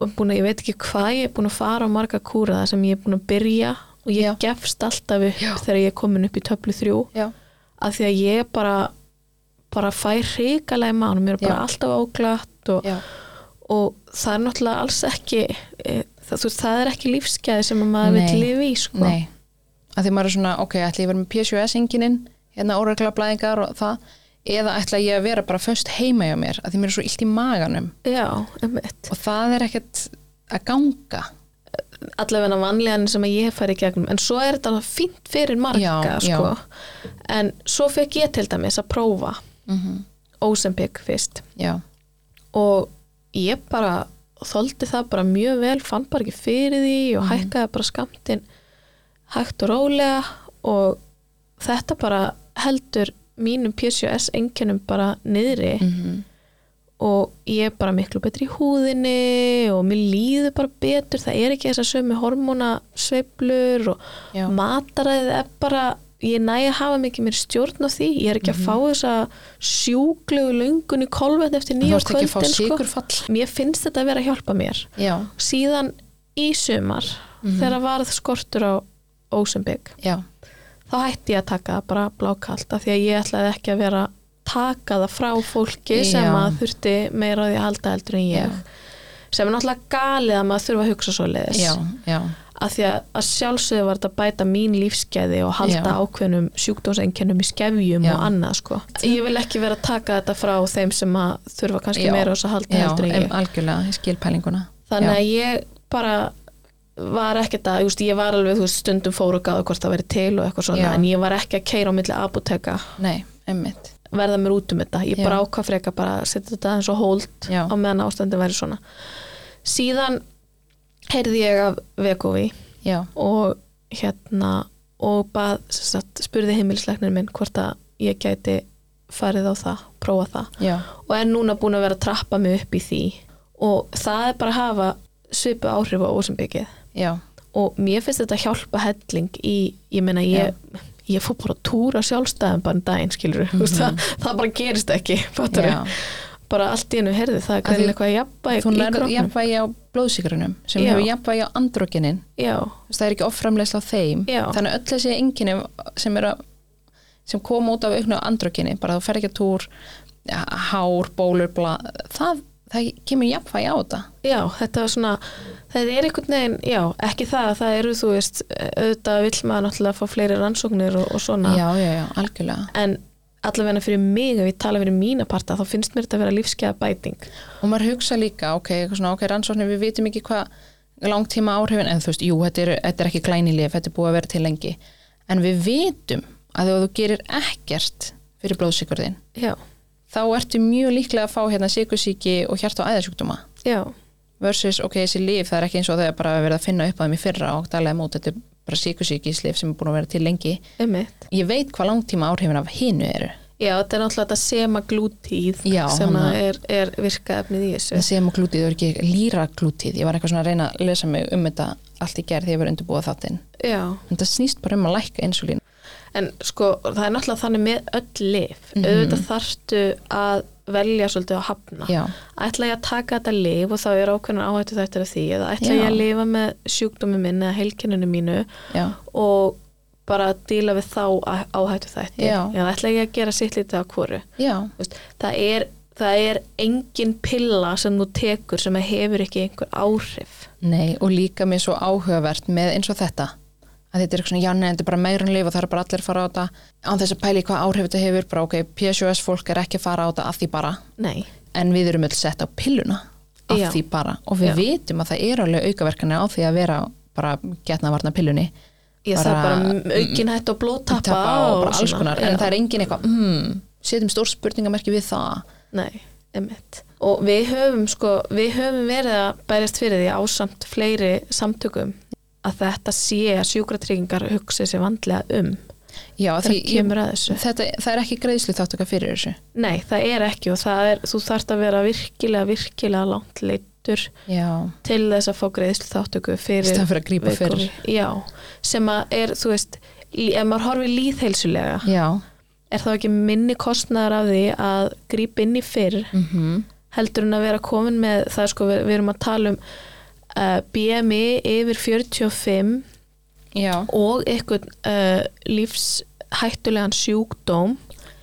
B: og búin að ég veit ekki hvað ég er búin að fara á marga kúra það sem ég er búin að byrja og ég
A: Já.
B: gefst alltaf upp þegar ég er komin upp í töflu þrjú
A: Já,
B: af því að ég bara bara fær hrikalega í mánum, mér er bara
A: Já.
B: alltaf áglatt og,
A: já.
B: og það er náttúrulega alls ekki e, það, þú, það er ekki lífsgæði sem að maður
A: Nei.
B: vil lifi í sko.
A: Nei, að því maður er svona, ok, ætla ég að vera með PCOS-inginin, hérna óregla blæðingar og það, eða ætla ég að vera bara föst heima hjá mér, að því mér er svo illt í maganum
B: Já, einmitt
A: og það er ekkert að ganga.
B: allavega vanlegan sem að ég hef farið í gegnum en svo er þetta alveg fínt fyrir marga
A: Já,
B: sko. en svo fekk ég til dæmis að prófa
A: Mm -hmm.
B: Ozempic fyrst
A: Já,
B: og ég bara þoldi það bara mjög vel, fann bara ekki fyrir því og
A: Mhm.
B: hækkaði bara skamtinn hægt og rólega og þetta bara heldur mínum PCOS einkennum bara niðri
A: Mhm.
B: og ég er bara miklu betri í húðinni og mér líður bara betur það er ekki þess að sömu hormónasveiflur og
A: Já.
B: mataræðið er bara ég næ að hafa mikið mér stjórn á því ég er
A: Mhm.
B: ekki að fá þessa sjúklegu löngun í kolvetn eftir
A: þú
B: nýja
A: ert ekki að fá
B: kvöldin sko.
A: sigurfall.
B: mér finnst þetta að vera að hjálpa mér
A: sko. Já,
B: síðan í sumar
A: Mhm.
B: þegar varð skortur á Ósenbygg
A: já,
B: þá hætti ég að taka það bara blákalt af því að ég ætlaði ekki að vera að taka það frá fólki sem
A: Já.
B: að þurfti meira á því að halda heldur en ég sem er náttúrulega galið að maður þurfa að hugsa svo leiðis
A: já, já,
B: af því að, að sjálfsögðu var þetta að bæta mín lífsgæði og
A: Já.
B: halda ákveðnum sjúkdómseinkennum í skefjum
A: Já.
B: og annað sko. ég vil ekki vera að taka þetta frá þeim sem að þurfa kannski
A: Já.
B: meira á þess að halda
A: já,
B: heldur en ég
A: em, algjörlega, ég skil pælinguna.
B: þannig
A: já.
B: að ég bara var ekkert að, just, ég var alveg þú veist, stundum fóru og gáðu hvort það væri til og eitthvað svona,
A: Já.
B: en ég var ekki að keira á milli apoteka,
A: Nei, emmitt,
B: verða mér út um þetta ég
A: Já.
B: bara ákvað freka bara að setja þetta eins og hólt
A: Já.
B: á meðan ástandi væri svona síðan heyrði ég af Vekovi
A: já,
B: og hérna og bað, sem sagt, spurði heimilisleiknir minn hvort að ég gæti farið á það, prófa það
A: já,
B: og er núna búin að vera að trappa mig upp í því og það er bara að hafa svipu áhrif á ósembyggið
A: já,
B: og mér finnst þetta hjálpa helling í, ég meina ég ég fór bara að túra sjálfstæðum bara en daginn skilur, mm -hmm. það, það bara gerist ekki fattar
A: Mhm. Já.
B: bara allt í hennu herði það er
A: því-
B: greinilega eitthvað jafnvæg
A: þú
B: í
A: nærður
B: kroppnum
A: jafnvægi á blóðsikrunum sem
B: Já.
A: hefur jafnvægi á andróginin
B: já,
A: Þú veist, það er ekki offramleysla á þeim
B: Já.
A: þannig að öll þessi enginni sem, eru að- sem kom út af auknu andrökinni bara þú fer ekki að túr ja, hár, bólur, bla það, það kemur jafnvægi á þetta
B: já, þetta var svona þetta er einhvern veginn, já, ekki það það eru þú veist, auðvitað vill maður náttúrulega fá fleiri rannsóknir og, og svona
A: já, já, já, algjörlega
B: en allavega fyrir mig, ef ég tala fyrir mína parta þá finnst mér þetta að vera lífskeiða bæting
A: og maður hugsa líka, ok, eitthvað svona, ok, rannsóknir við vitum ekki hvað langtíma áhrifin en þú veist, jú, þetta er, þetta er ekki glænilif þetta er búið að vera til lengi en við vitum að ef þú gerir ekkert fyrir blóðsikurðin
B: já,
A: þá ertu mjög líklega að fá hérna sikursíki og hjart- og æðasjúkdóma
B: já,
A: versus, ok, þessi líf, það er ekki eins og það er bara verið að finna upp á þeim í fyrra og dælega mót þetta er bara síkusíkislif sem er búin að vera til lengi
B: einmitt
A: ég veit hvað langtíma áhrifin af hinu eru
B: já, þetta er náttúrulega þetta semaglútíð
A: Já,
B: sem
A: hana-
B: að er, er virkaefnið í þessu
A: það sem og glútið, það er ekki líra glútið ég var eitthvað svona að reyna að lesa mig um þetta allt í gerð þegar ég var undirbúið þáttinn
B: já,
A: en það snýst bara um að lækka insulín
B: Mhm. en sko það er náttúrulega þannig með öll lif auðvitað þarftu að velja svolítið að hafna.
A: Já.
B: Ætla ég að taka þetta lif og þá er ákveðnar áhættu þættir af því eða ætla
A: Já.
B: ég að lifa með sjúkdómi minn eða heilkenninu mínu
A: Já.
B: og bara díla við þá á- áhættu þætti.
A: Já.
B: Eða ætla ég að gera sitt lítið af hvoru.
A: Já.
B: Þú veist, það er, það er engin pilla sem þú tekur sem að hefur ekki einhver áhrif
A: Nei, og líka mér svo áhugavert með eins og þetta. Að þetta er eitthvað svona, já, nei, þetta er bara meirunlif og það er bara allir að fara á þetta. Án þess að pæli hvað áhrif þetta hefur, bara ok, PSOS fólk er ekki að fara á þetta að því bara.
B: nei,
A: En við erum öll sett á pilluna að
B: Já.
A: því bara. Og við
B: Já.
A: vitum að það er alveg aukaverkana á því að vera bara getna varna pillunni.
B: ég þarf bara aukin hætt og blóttappa
A: tappa og bara alls
B: svona,
A: konar.
B: já.
A: En það er engin eitthvað, mm, setjum stór spurningamerki við það.
B: Nei, emitt. Og við höfum sko, við höfum verið að bærast fyrir því ásamt fleiri samtökum að þetta sé að sjúkratryggingar hugsi sér vandlega um.
A: Já, því
B: Það kemur að þessu.
A: þetta, það er ekki greiðslu þáttöka fyrir þessu.
B: Nei, það er ekki og það er, þú þarft að vera virkilega, virkilega langt leittur
A: Já,
B: til þess að fá greiðslu þáttöku fyrir.
A: Í stað fyrir að grípa
B: viðkomandi. Já, sem að er, þú veist, lí- ef maður horfir líðheilsulega,
A: já,
B: er þá ekki minni kostnaðar af því að grípa inn í fyrr
A: mhm,
B: heldur en að vera komin með það er sko við, við erum að tala um uh, BMI yfir 45
A: já,
B: og eitthvað uh, lífshættulegan sjúkdóm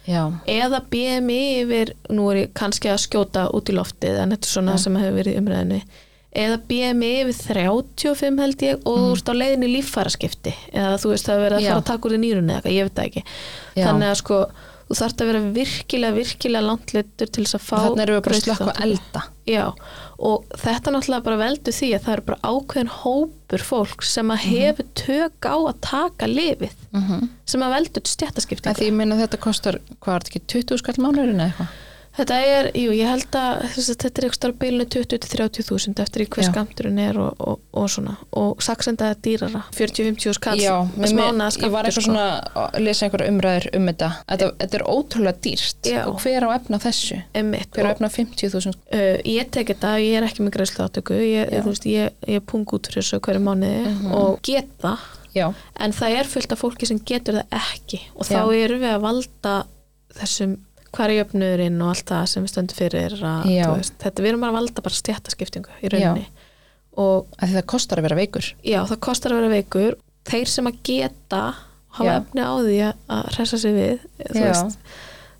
A: já,
B: eða BMI yfir, nú er ég kannski að skjóta út í loftið en þetta er svona
A: Já.
B: sem hefur verið í umræðinu eða BMI yfir 35 held ég og þú ert á leiðinni í líffæraskipti eða þú veist það er verið að
A: Mm. Já.
B: fara að taka úr því nýrunni eða eitthvað, ég veit það ekki
A: Já.
B: þannig að sko þú þarft að vera virkilega, virkilega landlittur til þess að fá
A: þannig erum við bara að
B: greiðslu
A: slökka
B: þátttöku.
A: elda
B: Já, og þetta náttúrulega bara veldur því að það eru bara ákveðin hópur fólk sem
A: Mhm.
B: að hefur tök á að taka lifið,
A: mm
B: sem að veldur
A: að
B: stjættaskiptingu.
A: því ég meina að þetta kostar hvað er þetta ekki, 20 skall mánuðurinn eða eitthvað
B: Þetta er, jú, ég held að þess að þetta er eitthvað starf bilinu 20-30 þúsund eftir í hver
A: Já.
B: skamturinn er og, og, og svona, og saksenda er dýrara, 40-50 skall,
A: já, mér-
B: smánaða sko.
A: ég var
B: skamtur
A: eitthvað svona að lesa einhverja umræður um þetta þetta, þetta er ótrúlega dýrt
B: Já.
A: og hver á efna þessu
B: Einmitt,
A: hver á
B: og,
A: efna 50.000
B: uh, ég tek þetta, ég er ekki með greiðslu áttöku,
A: Já.
B: ég,
A: Mhm.
B: þú veist, ég, ég pung út fyrir þessu hverju mánuði og get það
A: já,
B: en það er fullt af fólki sem getur það ekki og þá
A: Já.
B: eru við að valda þessum hverjöfnurinn og allt það sem við stöndum fyrir að,
A: Já.
B: þú veist, þetta við erum bara að valda bara stjættaskiptingu í rauninni og
A: að því það kostar að vera veikur
B: já, það kostar að vera veikur þeir sem að geta og hafa
A: Já.
B: efni á því að- að hressa sig við þú
A: Já.
B: veist,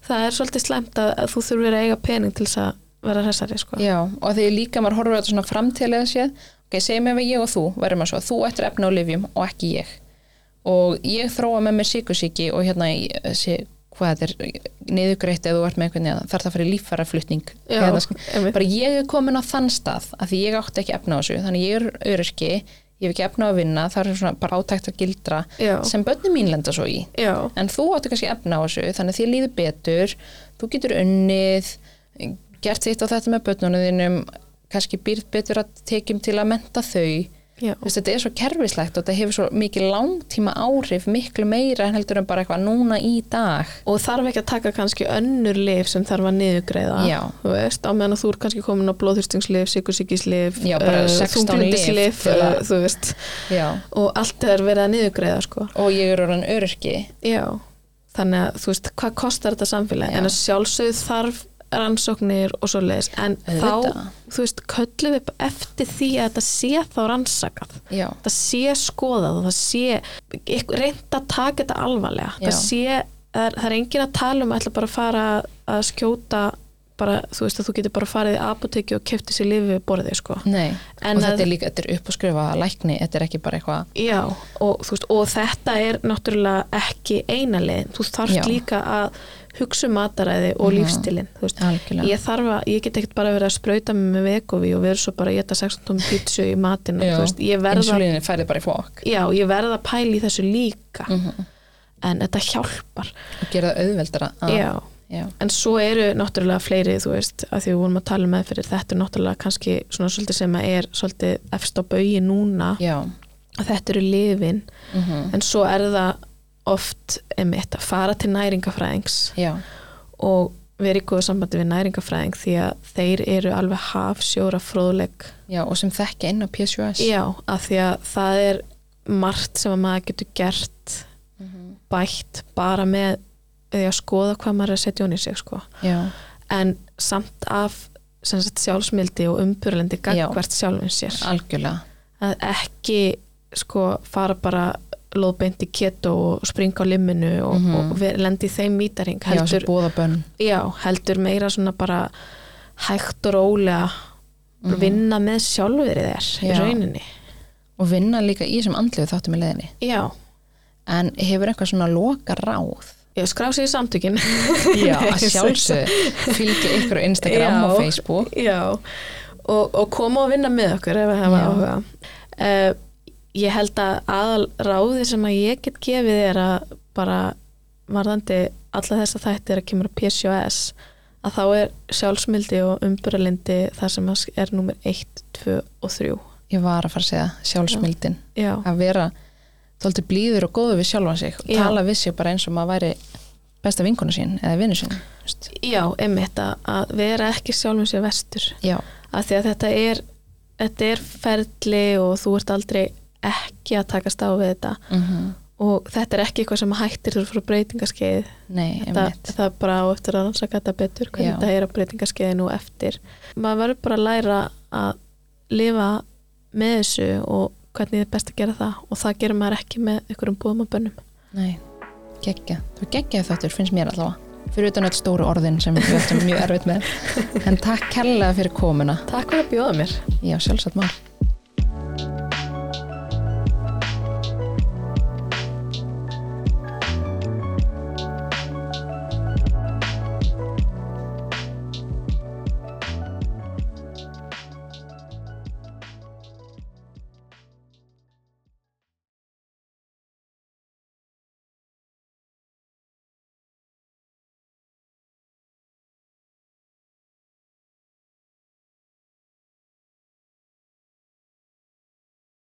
B: það er svolítið slæmt að, að þú þurfir að eiga pening til þess að vera hressari sko.
A: já, og að því líka maður horfur þetta svona framtíðlega séð ok, segjum ef að ég og þú verðum að svo þú ættir efna á lifjum og ekki ég og ég þróa með mér síkusíki og hérna, ég- sé, hvað þetta er niðugreitt eða þú ert með einhvern veginn þarf það að fara í líffæraflutning
B: Já,
A: Hérna, sk-
B: einmitt.
A: bara ég er komin á þann stað að því ég átti ekki efna á þessu þannig ég er öryrki, ég hef ekki efna á að vinna það er svona bara átækt að gildra
B: Já.
A: sem börnum mín lenda svo í
B: já,
A: en þú áttu kannski efna á þessu þannig að þér líður betur, þú getur unnið gert þitt á þetta með börnunum þínum kannski býrð betur að tekjum til að menta þau
B: já.
A: Þú veist, þetta er svo kerfislegt og þetta hefur svo mikið langtíma áhrif miklu meira en heldur en bara eitthvað núna í dag
B: og þarf ekki að taka kannski önnur lif sem þarf að niðugreiða
A: Já.
B: þú veist, á meðan að þú er kannski komin á blóðhyrstingslif, sikursíkislif
A: Já, bara 16 lyf til að-
B: eh, þú veist
A: Já.
B: og allt er verið að niðugreiða sko.
A: og ég er orðan öryrki
B: já, þannig að þú veist hvað kostar þetta samfélagi,
A: Já.
B: en að sjálfsögð þarf rannsóknir og svo leiðis en
A: Auðvitað.
B: þá, þú veist, köllum við bara eftir því að þetta sé þá rannsakað
A: Já.
B: það sé skoðað og það sé ykk- reynt að taka þetta alvarlega
A: Já.
B: það sé, það er, það er engin að tala um að ætla bara að fara að skjóta bara, þú veist að þú getur bara farið í apoteki og kefti sér lifi við borðið sko
A: Nei,
B: En
A: og
B: að-
A: þetta er líka, þetta er upp að skrifa lækni, þetta er ekki bara eitthvað
B: já, og, þú veist, og þetta er náttúrulega ekki eina leiðin þú þarft
A: Já.
B: líka að hugsa um mataræði og
A: Mhm.
B: lífstilinn þú veist,
A: algjörlega.
B: ég þarf að, ég get ekkert bara verið að sprauta mig með vegovi og verið svo bara að geta 16 tómi pítsu í matina,
A: Já.
B: þú veist, ég verð að
A: Insúlínin færði bara í fokk
B: já, ég verð að pæla í þessu líka
A: Mm.
B: en þetta hjálpar
A: og gera það auðveldara að-
B: já,
A: Já.
B: en svo eru náttúrulega fleiri, þú veist, að því við vorum að tala með fyrir þetta er náttúrulega kannski svona svolítið sem að er svolítið efst á baui núna
A: Já.
B: að þetta eru lifin
A: Mhm.
B: en svo er það oft emitt að fara til næringafræðings
A: Já.
B: og vera í góðu sambandi við næringafræðing því að þeir eru alveg hafsjóra fróðleg
A: Já, og sem þekki inn á PSUS
B: Já, af því að það er margt sem að maður getur gert
A: Mhm.
B: bætt bara með því að skoða hvað maður er að setja hún í sig sko.
A: Já.
B: en samt af sem sagt, sjálfsmildi og umbyrlendi gagvert sjálfum sér
A: algjörlega
B: að ekki sko fara bara lóðbeint í keto og springa á limminu og, mm -hmm. og ver- lenda í þeim mítæring
A: Mhm. já,
B: heldur,
A: sem bóðabönn
B: já, heldur meira svona bara hægt og rólega vinna með sjálfurið þér í
A: Mhm. Já.
B: rauninni
A: og vinna líka í sem andlegu þáttum í leðinni
B: já,
A: en hefur eitthvað svona loka ráð
B: ég skrá sig í samtökin
A: já, að sjálfsög fylgja ykkur á Instagram
B: Já.
A: og Facebook
B: já, og, og koma og vinna með okkur ef það var
A: Já.
B: áhuga uh, ég held að aðal ráði sem að ég get gefið er að bara varðandi alla þessa þætti er að kemur að PCOS að þá er sjálfsmildi og umburalindi það sem að sk- er nummer 1, 2 og 3
A: ég var að fara að segja sjálfsmildin
B: já,
A: að vera þóldi blíður og góður við sjálfan sig og
B: Já.
A: tala við sig bara eins og maður væri besta vinkona sín eða vinnu sín
B: já einmitt að, að vera ekki sjálfum sér vestur
A: já,
B: að því að þetta er þetta er ferli og þú ert aldrei ekki að takast á við þetta
A: mm
B: og þetta er ekki eitthvað sem hættir þú frá breytingaskeið
A: nei,
B: það,
A: einmitt
B: það er bara á eftir að rannsaka þetta betur hvernig
A: Já.
B: þetta er á breytingaskeiðinu og eftir maður verður bara að læra að lifa með þessu og hvernig er best að gera það og það gerir maður ekki með einhverjum búðum og bönnum
A: Nei, geggja. Það var geggjað þáttur, finnst mér allavega. Fyrir utan öll stóru orðin sem við höfum mjög erfitt með. En takk kærlega fyrir komuna.
B: Takk fyrir að bjóða mér
A: Já, sjálfsagt mál.